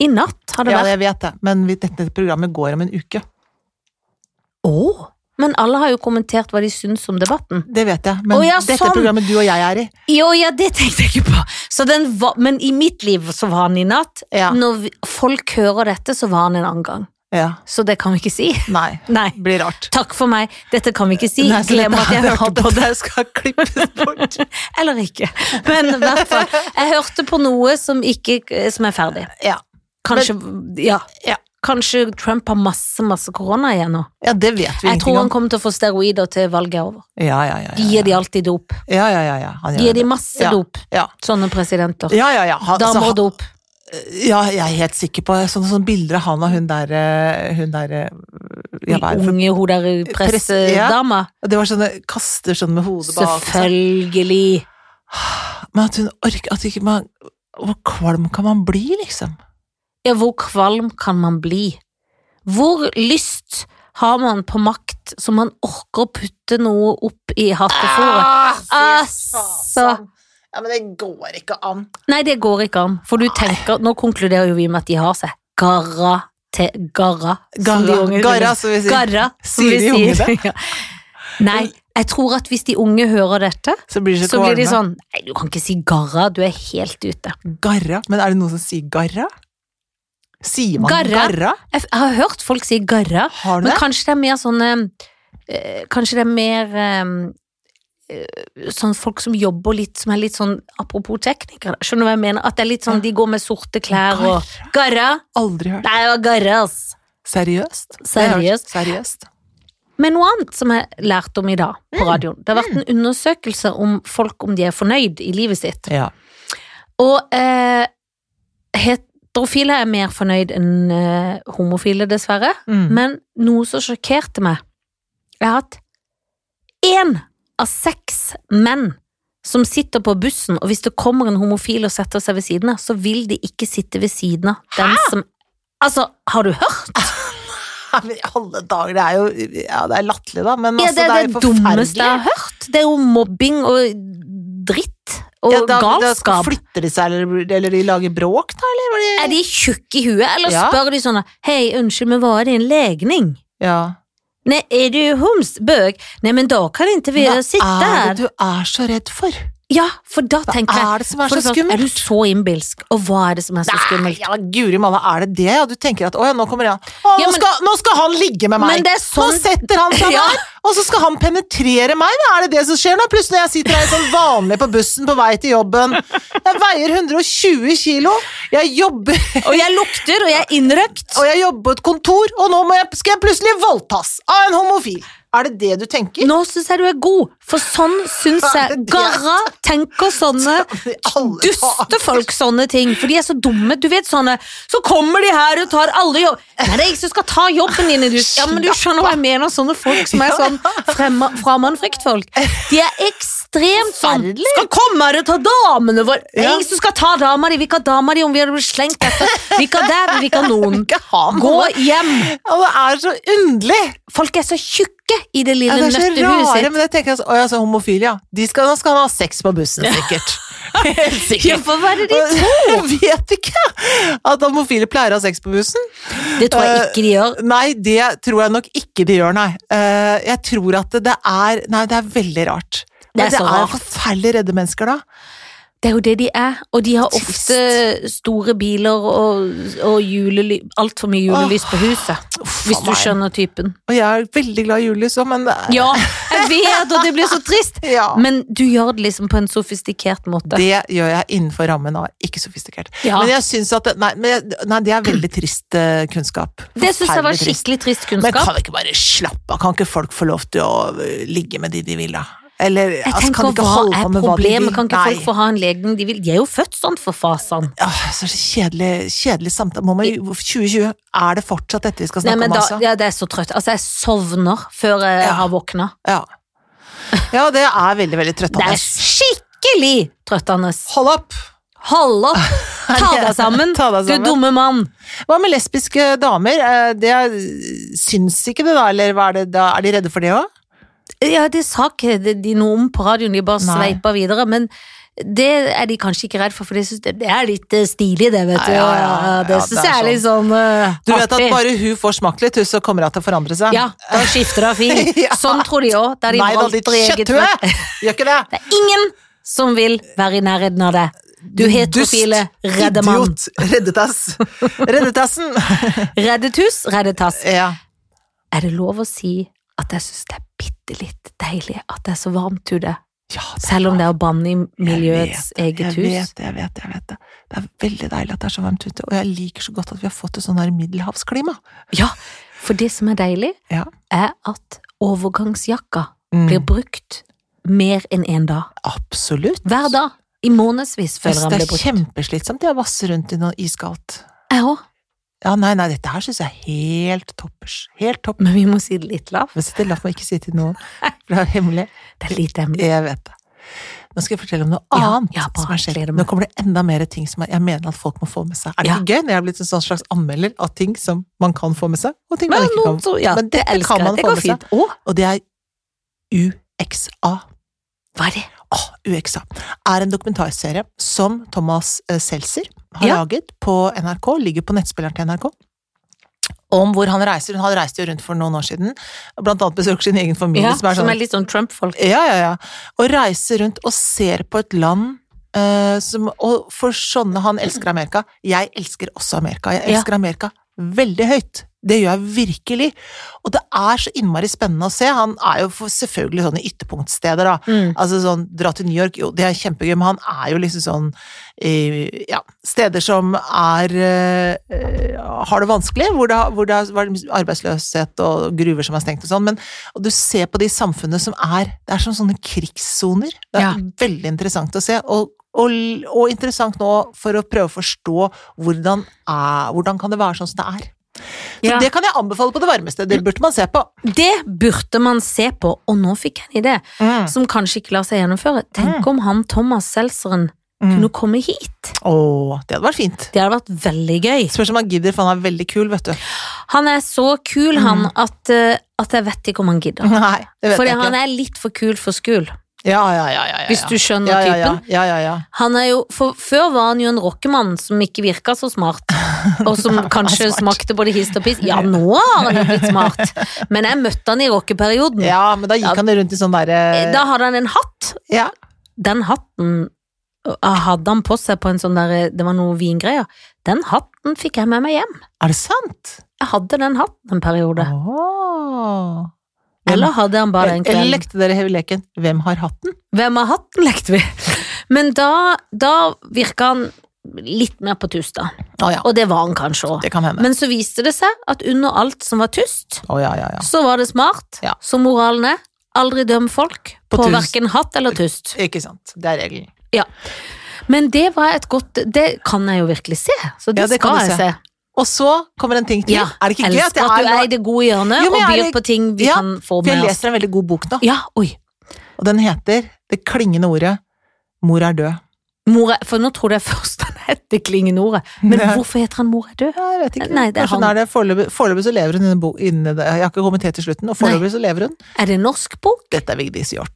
Speaker 2: I natt har det
Speaker 1: Ja,
Speaker 2: vært.
Speaker 1: jeg vet det, men vi- dette programmet går om en uke.
Speaker 2: Å, Men alle har jo kommentert hva de syns om debatten.
Speaker 1: Det vet jeg, men
Speaker 2: Å, ja,
Speaker 1: dette
Speaker 2: sånn.
Speaker 1: programmet du og jeg er i
Speaker 2: Jo, ja, det tenkte jeg ikke på. Så den var, men i mitt liv så var den i natt.
Speaker 1: Ja.
Speaker 2: Når vi, folk hører dette, så var den en annen gang.
Speaker 1: Ja.
Speaker 2: Så det kan vi ikke si.
Speaker 1: Nei.
Speaker 2: Nei.
Speaker 1: Det blir rart.
Speaker 2: Takk for meg, dette kan vi ikke si.
Speaker 1: Nei, så
Speaker 2: Glem
Speaker 1: dette-
Speaker 2: at jeg hørte på
Speaker 1: Dette skal klippes bort.
Speaker 2: Eller ikke. Men i hvert fall, jeg hørte på noe som, ikke, som er ferdig.
Speaker 1: Ja.
Speaker 2: Kanskje, ja.
Speaker 1: Ja.
Speaker 2: Kanskje Trump har masse, masse korona igjen nå.
Speaker 1: ja, det vet vi
Speaker 2: Jeg
Speaker 1: ingenting
Speaker 2: tror han
Speaker 1: om.
Speaker 2: kommer til å få steroider til valget er over.
Speaker 1: Ja, ja, ja.
Speaker 2: De
Speaker 1: ja.
Speaker 2: gir de alltid dop.
Speaker 1: Ja, ja, ja, ja. Han
Speaker 2: De
Speaker 1: gjør
Speaker 2: gir de
Speaker 1: det.
Speaker 2: masse
Speaker 1: Ja.
Speaker 2: dop,
Speaker 1: Ja.
Speaker 2: sånne presidenter.
Speaker 1: Ja, ja, ja. Han, altså,
Speaker 2: Damer
Speaker 1: han-
Speaker 2: og dop.
Speaker 1: ja, jeg er helt sikker på sånne, sånne bilder av han og hun der, eh, hun der eh, ja, hva er det for-
Speaker 2: Unge hun der
Speaker 1: Press- ja.
Speaker 2: pressedama.
Speaker 1: Og Det var sånne kaster sånn med hodet bak.
Speaker 2: Selvfølgelig.
Speaker 1: Men at hun orker at ikke man Hvor kvalm kan man bli, liksom?
Speaker 2: Ja, hvor kvalm kan man bli? Hvor lyst har man på makt som man orker å putte noe opp i hattefòret? Altså.
Speaker 1: Ja, men det går ikke an.
Speaker 2: Nei, det går ikke an, for du tenker Nå konkluderer jo vi med at de har seg. Garra te, garra. som de
Speaker 1: Garra,
Speaker 2: unge-
Speaker 1: garra som vi sier.
Speaker 2: Garra, som
Speaker 1: Sier de
Speaker 2: vi
Speaker 1: unge
Speaker 2: sier. Ja. Nei, jeg tror at hvis de unge hører dette,
Speaker 1: Så blir det
Speaker 2: så blir de
Speaker 1: kvalme.
Speaker 2: sånn Nei, du kan ikke si garra, du er helt ute.
Speaker 1: Garra? Men er det noen som sier garra? Sier man
Speaker 2: Garra.
Speaker 1: garra?
Speaker 2: Jeg f- jeg har hørt folk si garra.
Speaker 1: Har du
Speaker 2: Men
Speaker 1: det?
Speaker 2: kanskje det er mer sånn eh, Kanskje det er mer eh, eh, Sånn folk som jobber litt Som er litt sånn, apropos teknikere Skjønner du hva jeg mener? At det er litt sånn, de går med sorte klær og Garra!
Speaker 1: Aldri hørt.
Speaker 2: Nei, det var garra, ass
Speaker 1: Seriøst? Det har jeg hørt.
Speaker 2: Seriøst
Speaker 1: Seriøst.
Speaker 2: Men noe annet som jeg lærte om i dag På
Speaker 1: Mm.
Speaker 2: radioen Det har vært en undersøkelse om folk Om de er fornøyd i livet sitt
Speaker 1: Ja.
Speaker 2: Og eh, heterofile er mer fornøyd enn eh, homofile dessverre
Speaker 1: Mm.
Speaker 2: Men noe som sjokkerte meg Jeg har hatt én av seks menn som sitter på bussen, og hvis det kommer en homofil og setter seg ved siden av, så vil de ikke sitte ved siden av den som Altså, har du hørt?
Speaker 1: Ja, men I alle dager, det er jo ja, det er latterlig, da, men
Speaker 2: Ja,
Speaker 1: altså,
Speaker 2: det er det,
Speaker 1: jo
Speaker 2: dummeste jeg har hørt. Det er jo mobbing og dritt og
Speaker 1: Ja, da, da
Speaker 2: galskap.
Speaker 1: flytter de seg, eller, eller de lager bråk, da, eller? Var det-
Speaker 2: er de tjukke i huet, eller
Speaker 1: Ja.
Speaker 2: spør de sånn Hei, unnskyld, men hva er din legning?
Speaker 1: Ja.
Speaker 2: Nei, er du homsbøg? Nei, men da kan ikke vi sitte
Speaker 1: Hva
Speaker 2: her.
Speaker 1: er det du er så redd for?
Speaker 2: Ja, for da tenker jeg
Speaker 1: Hva er det som er
Speaker 2: for
Speaker 1: så
Speaker 2: det første, Er du
Speaker 1: skummelt?
Speaker 2: så innbilsk? Og hva er det som er så skummelt?
Speaker 1: Ja, guri malla, er det det? Ja, du tenker at å ja, nå kommer han. Å,
Speaker 2: Ja,
Speaker 1: nå,
Speaker 2: men-
Speaker 1: skal, nå skal han ligge med meg!
Speaker 2: Men det er sånn-
Speaker 1: Nå setter han seg
Speaker 2: Ja.
Speaker 1: der, og så skal han penetrere meg! Hva er det det som skjer nå? Plutselig når jeg sitter her sånn vanlig på bussen på vei til jobben. Jeg veier 120 kilo, jeg jobber
Speaker 2: Og jeg lukter, og jeg er innrøkt.
Speaker 1: og jeg jobber på et kontor, og nå må jeg, skal jeg plutselig voldtas av en homofil! Er det det du tenker?
Speaker 2: Nå syns jeg du er god, for sånn syns jeg
Speaker 1: Det er-
Speaker 2: Garra tenker sånne
Speaker 1: I alle dager.
Speaker 2: duste folk sånne ting, for de er så dumme. Du vet sånne Så kommer de her og tar alle jobb Nei, det er jeg som skal ta jobben din, du. Ja, men du skjønner hva jeg mener, sånne folk som er sånn fremme- framandfryktfolk. De er ekstremt sånn
Speaker 1: Forferdelig.
Speaker 2: Skal komme her og ta damene våre! Det er
Speaker 1: Ja.
Speaker 2: jeg som skal ta dama di! Vi kan ha dama di om vi hadde blitt slengt etter. Vi kan der, vi kan noen.
Speaker 1: Ikke ha noe.
Speaker 2: Gå hjem!
Speaker 1: Ja, det er så underlig!
Speaker 2: Folk er så tjukke i det
Speaker 1: Ja,
Speaker 2: lille
Speaker 1: det er så
Speaker 2: nøttehuset
Speaker 1: rare,
Speaker 2: sitt.
Speaker 1: men jeg tenker altså, å, ja, så homofile, ja. De skal, nå skal han ha sex på bussen, sikkert. Helt
Speaker 2: Ja,
Speaker 1: sikkert.
Speaker 2: for hva er det de
Speaker 1: Jeg vet ikke at homofile pleier å ha sex på bussen.
Speaker 2: Det tror
Speaker 1: Eh,
Speaker 2: jeg ikke de gjør.
Speaker 1: Nei, det tror jeg nok ikke de gjør, nei. Eh, Jeg tror at det er Nei, det er veldig rart. Men
Speaker 2: Det er så rart.
Speaker 1: Det er forferdelig redde mennesker, da.
Speaker 2: Det er jo det de er, og de har
Speaker 1: Trist.
Speaker 2: ofte store biler og, og julely, altfor mye julelys på huset.
Speaker 1: Uff,
Speaker 2: Hvis
Speaker 1: faen
Speaker 2: du
Speaker 1: meg.
Speaker 2: skjønner typen.
Speaker 1: Og jeg er veldig glad i Julius òg, men det er-
Speaker 2: Ja, jeg vet, og det blir så trist!
Speaker 1: ja.
Speaker 2: Men du gjør det liksom på en sofistikert måte.
Speaker 1: Det gjør jeg innenfor rammen av ikke sofistikert.
Speaker 2: Ja.
Speaker 1: Men jeg synes at det- Nei, men, jeg- nei, det er veldig trist eh, kunnskap.
Speaker 2: Det syns jeg var
Speaker 1: Forferdelig trist.
Speaker 2: skikkelig
Speaker 1: Men
Speaker 2: trist kunnskap.
Speaker 1: kan vi ikke bare slappe av? Kan ikke folk få lov til å eh, ligge med de de vil, da? Eller
Speaker 2: Jeg
Speaker 1: altså, kan de
Speaker 2: tenker,
Speaker 1: ikke
Speaker 2: hva
Speaker 1: holde på
Speaker 2: er
Speaker 1: med hva de vil?
Speaker 2: problemet? Kan ikke folk få ha en legning de vil? De er jo født sånn, for fasan.
Speaker 1: Åh, så kjedelig, kjedelig samtale. Må man, 2020, er det fortsatt dette vi skal
Speaker 2: Nei,
Speaker 1: snakke
Speaker 2: men
Speaker 1: om,
Speaker 2: da,
Speaker 1: altså?
Speaker 2: ja, det er så trøtt. Altså, jeg sovner før jeg
Speaker 1: Ja.
Speaker 2: har våkna.
Speaker 1: Ja. ja, det er veldig, veldig
Speaker 2: Det
Speaker 1: trøttende.
Speaker 2: er skikkelig trøttende.
Speaker 1: Hold opp!
Speaker 2: Hold opp! Ta deg sammen,
Speaker 1: Ta deg sammen.
Speaker 2: du dumme mann!
Speaker 1: Hva med lesbiske damer? Eh, Det er, syns ikke det, da? Eller hva er, det, da? er de redde for det òg?
Speaker 2: Ja, det sa ikke de de noe om på radioen, de bare
Speaker 1: Nei.
Speaker 2: sveipa videre. Men det er de kanskje ikke redd for, for de synes det det er litt eh, stilig, det, vet
Speaker 1: Ja,
Speaker 2: du.
Speaker 1: ja, ja, ja,
Speaker 2: det
Speaker 1: ja,
Speaker 2: syns
Speaker 1: det er
Speaker 2: jeg er litt sånn eh,
Speaker 1: Du vet at
Speaker 2: artig.
Speaker 1: bare hun får smakt litt, hun, så kommer hun til å forandre seg.
Speaker 2: Ja, da skifter det fil.
Speaker 1: Ja.
Speaker 2: Sånn tror de òg. Der de
Speaker 1: Nei da,
Speaker 2: valgte
Speaker 1: ditt
Speaker 2: eget
Speaker 1: kjøtthue!
Speaker 2: fø-
Speaker 1: Gjør ikke det!
Speaker 2: Det er ingen som vil være i nærheten av det. Du heterofile
Speaker 1: Dust,
Speaker 2: redde mann.
Speaker 1: Idiot! Reddetass! Reddetassen!
Speaker 2: Reddet hus, reddet tass.
Speaker 1: Ja.
Speaker 2: Er det lov å si at jeg syns det er bitte litt deilig at det er så varmt ute,
Speaker 1: ja
Speaker 2: selv om det er å banne i
Speaker 1: Jeg
Speaker 2: miljøets
Speaker 1: vet det,
Speaker 2: eget
Speaker 1: Jeg
Speaker 2: hus?
Speaker 1: vet det, jeg vet det. jeg vet Det Det er veldig deilig at det er så varmt ute, og jeg liker så godt at vi har fått et sånn her middelhavsklima.
Speaker 2: Ja, for det som er deilig,
Speaker 1: Ja.
Speaker 2: er at overgangsjakka
Speaker 1: Mm.
Speaker 2: blir brukt mer enn én dag.
Speaker 1: Absolutt.
Speaker 2: Hver dag. I månedsvis,
Speaker 1: Jeg
Speaker 2: føler
Speaker 1: synes
Speaker 2: jeg
Speaker 1: Det
Speaker 2: den
Speaker 1: er
Speaker 2: blir brukt.
Speaker 1: kjempeslitsomt det å vasse rundt i noe iskaldt.
Speaker 2: Jeg òg,
Speaker 1: Ja, nei, nei, dette her synes jeg er helt toppers. Helt topp.
Speaker 2: men vi må si det litt lavt.
Speaker 1: Men sitt stille, la meg ikke si til noen, for det er hemmelig.
Speaker 2: Det er litt hemmelig.
Speaker 1: Jeg vet det. Nå skal jeg fortelle om noe
Speaker 2: Ja,
Speaker 1: annet
Speaker 2: ja, bra.
Speaker 1: som har skjedd.
Speaker 2: Gleder meg.
Speaker 1: Nå kommer det enda mer ting som jeg- jeg mener at folk må få med seg. Er det
Speaker 2: Ja.
Speaker 1: ikke gøy når jeg er blitt en sånn slags anmelder av ting som man kan få med seg, og ting man
Speaker 2: Men,
Speaker 1: ikke
Speaker 2: noen,
Speaker 1: kan?
Speaker 2: tror- ja,
Speaker 1: Men
Speaker 2: det
Speaker 1: dette
Speaker 2: elsker
Speaker 1: kan
Speaker 2: jeg.
Speaker 1: man
Speaker 2: Det
Speaker 1: få
Speaker 2: går
Speaker 1: med seg.
Speaker 2: fint. Å,
Speaker 1: Og det er UXA.
Speaker 2: hva er det?
Speaker 1: Åh, UXA er en dokumentarserie som Thomas eh, Seltzer har
Speaker 2: Ja.
Speaker 1: laget på NRK, ligger på nettspilleren til NRK. Om hvor han reiser. Hun hadde reist jo rundt for noen år siden. Blant annet besøker sin egen familie.
Speaker 2: Ja,
Speaker 1: som er sånn,
Speaker 2: litt sånn Trump-folk.
Speaker 1: ja, ja, ja. Og reiser rundt og ser på et land eh, som Og for sånne han elsker Amerika. Jeg elsker også Amerika. Jeg
Speaker 2: Ja.
Speaker 1: elsker Amerika veldig høyt. Det gjør jeg virkelig. Og det er så innmari spennende å se. Han er jo for selvfølgelig sånn i ytterpunktsteder, da.
Speaker 2: Mm.
Speaker 1: Altså sånn, dra til New York, jo, det er kjempegøy, men han er jo liksom sånn eh, Ja, steder som er eh, eh, Har det vanskelig, hvor det, har- hvor det er arbeidsløshet og gruver som er stengt og sånn, men og du ser på de samfunnene som er Det er som sånne krigssoner. Det er
Speaker 2: Ja.
Speaker 1: veldig interessant å se. og og, og interessant nå for å prøve å forstå hvordan, er, hvordan kan det være sånn som det er. Så
Speaker 2: Ja. Mm.
Speaker 1: Det kan jeg anbefale på det varmeste. Det burde man se på.
Speaker 2: Det burde man se på, og nå fikk jeg en idé
Speaker 1: Mm.
Speaker 2: som kanskje ikke lar seg gjennomføre. Tenk om han Thomas Seltzeren
Speaker 1: Mm.
Speaker 2: kunne komme hit.
Speaker 1: Åh, det hadde vært fint.
Speaker 2: Det hadde vært veldig gøy.
Speaker 1: Spørs om han gidder, for han er veldig kul, vet du.
Speaker 2: Han er så kul, han, at, eh, at jeg vet ikke om han gidder.
Speaker 1: Nei, det vet Mm.
Speaker 2: Fordi
Speaker 1: jeg ikke.
Speaker 2: han er litt for kul for skul,
Speaker 1: Ja, ja, ja, ja, ja.
Speaker 2: hvis du skjønner
Speaker 1: ja, ja, ja.
Speaker 2: typen.
Speaker 1: Ja, ja, ja.
Speaker 2: Han er jo, for Før var han jo en rockemann som ikke virka så smart, og som kanskje
Speaker 1: smart.
Speaker 2: smakte både hist og piss. Ja, nå har han jo blitt smart, men jeg møtte han i rockeperioden.
Speaker 1: Ja, men da gikk
Speaker 2: Ja.
Speaker 1: han rundt i sånn derre
Speaker 2: Mm. Eh, Da hadde han en hatt,
Speaker 1: ja.
Speaker 2: den hatten øh, hadde han på seg på en sånn der Det var noe vingreier. Den hatten fikk jeg med meg hjem.
Speaker 1: Er det sant?
Speaker 2: Jeg hadde den hatten en periode.
Speaker 1: Åh. Hvem-
Speaker 2: Eller hadde han bare den
Speaker 1: Eller
Speaker 2: kvelden.
Speaker 1: lekte dere hele leken Hvem har hatten?
Speaker 2: Hvem har hatten, lekte vi. Men da, da virka han litt mer på tust, da.
Speaker 1: Å ja,
Speaker 2: Og det var han kanskje òg.
Speaker 1: det kan hende.
Speaker 2: Men så viste det seg at under alt som var tust,
Speaker 1: Å ja, ja, ja.
Speaker 2: så var det smart.
Speaker 1: Ja.
Speaker 2: Så moralen er aldri døm folk
Speaker 1: På
Speaker 2: på, på
Speaker 1: tust.
Speaker 2: verken hatt eller tust.
Speaker 1: Ikke sant. Det er regelen.
Speaker 2: Men det var et godt Det kan jeg jo virkelig se, så det,
Speaker 1: Ja, det kan du
Speaker 2: skal jeg
Speaker 1: se.
Speaker 2: se.
Speaker 1: Og så kommer en ting til.
Speaker 2: Ja,
Speaker 1: er det ikke gøy at
Speaker 2: elsker
Speaker 1: jeg
Speaker 2: at du
Speaker 1: er,
Speaker 2: er i det gode hjørnet
Speaker 1: Jo, men
Speaker 2: og
Speaker 1: jeg er
Speaker 2: byr
Speaker 1: i-
Speaker 2: på ting vi
Speaker 1: Ja,
Speaker 2: kan få
Speaker 1: For jeg
Speaker 2: med oss.
Speaker 1: leser en veldig god bok nå,
Speaker 2: Ja, oi.
Speaker 1: og den heter det klingende ordet 'Mor er død'.
Speaker 2: Mor er, for nå trodde jeg først han het Det klingende ordet, men
Speaker 1: Nei.
Speaker 2: hvorfor heter han Mor er død?
Speaker 1: Ja, jeg vet ikke.
Speaker 2: Nei, det er
Speaker 1: Kanskje
Speaker 2: han.
Speaker 1: den er det. Foreløpig, foreløpig så lever hun inni bo- inni det. Jeg har ikke kommet helt til slutten, og foreløpig så lever hun.
Speaker 2: Er det en norsk bok?
Speaker 1: Dette er Vigdis Hjort.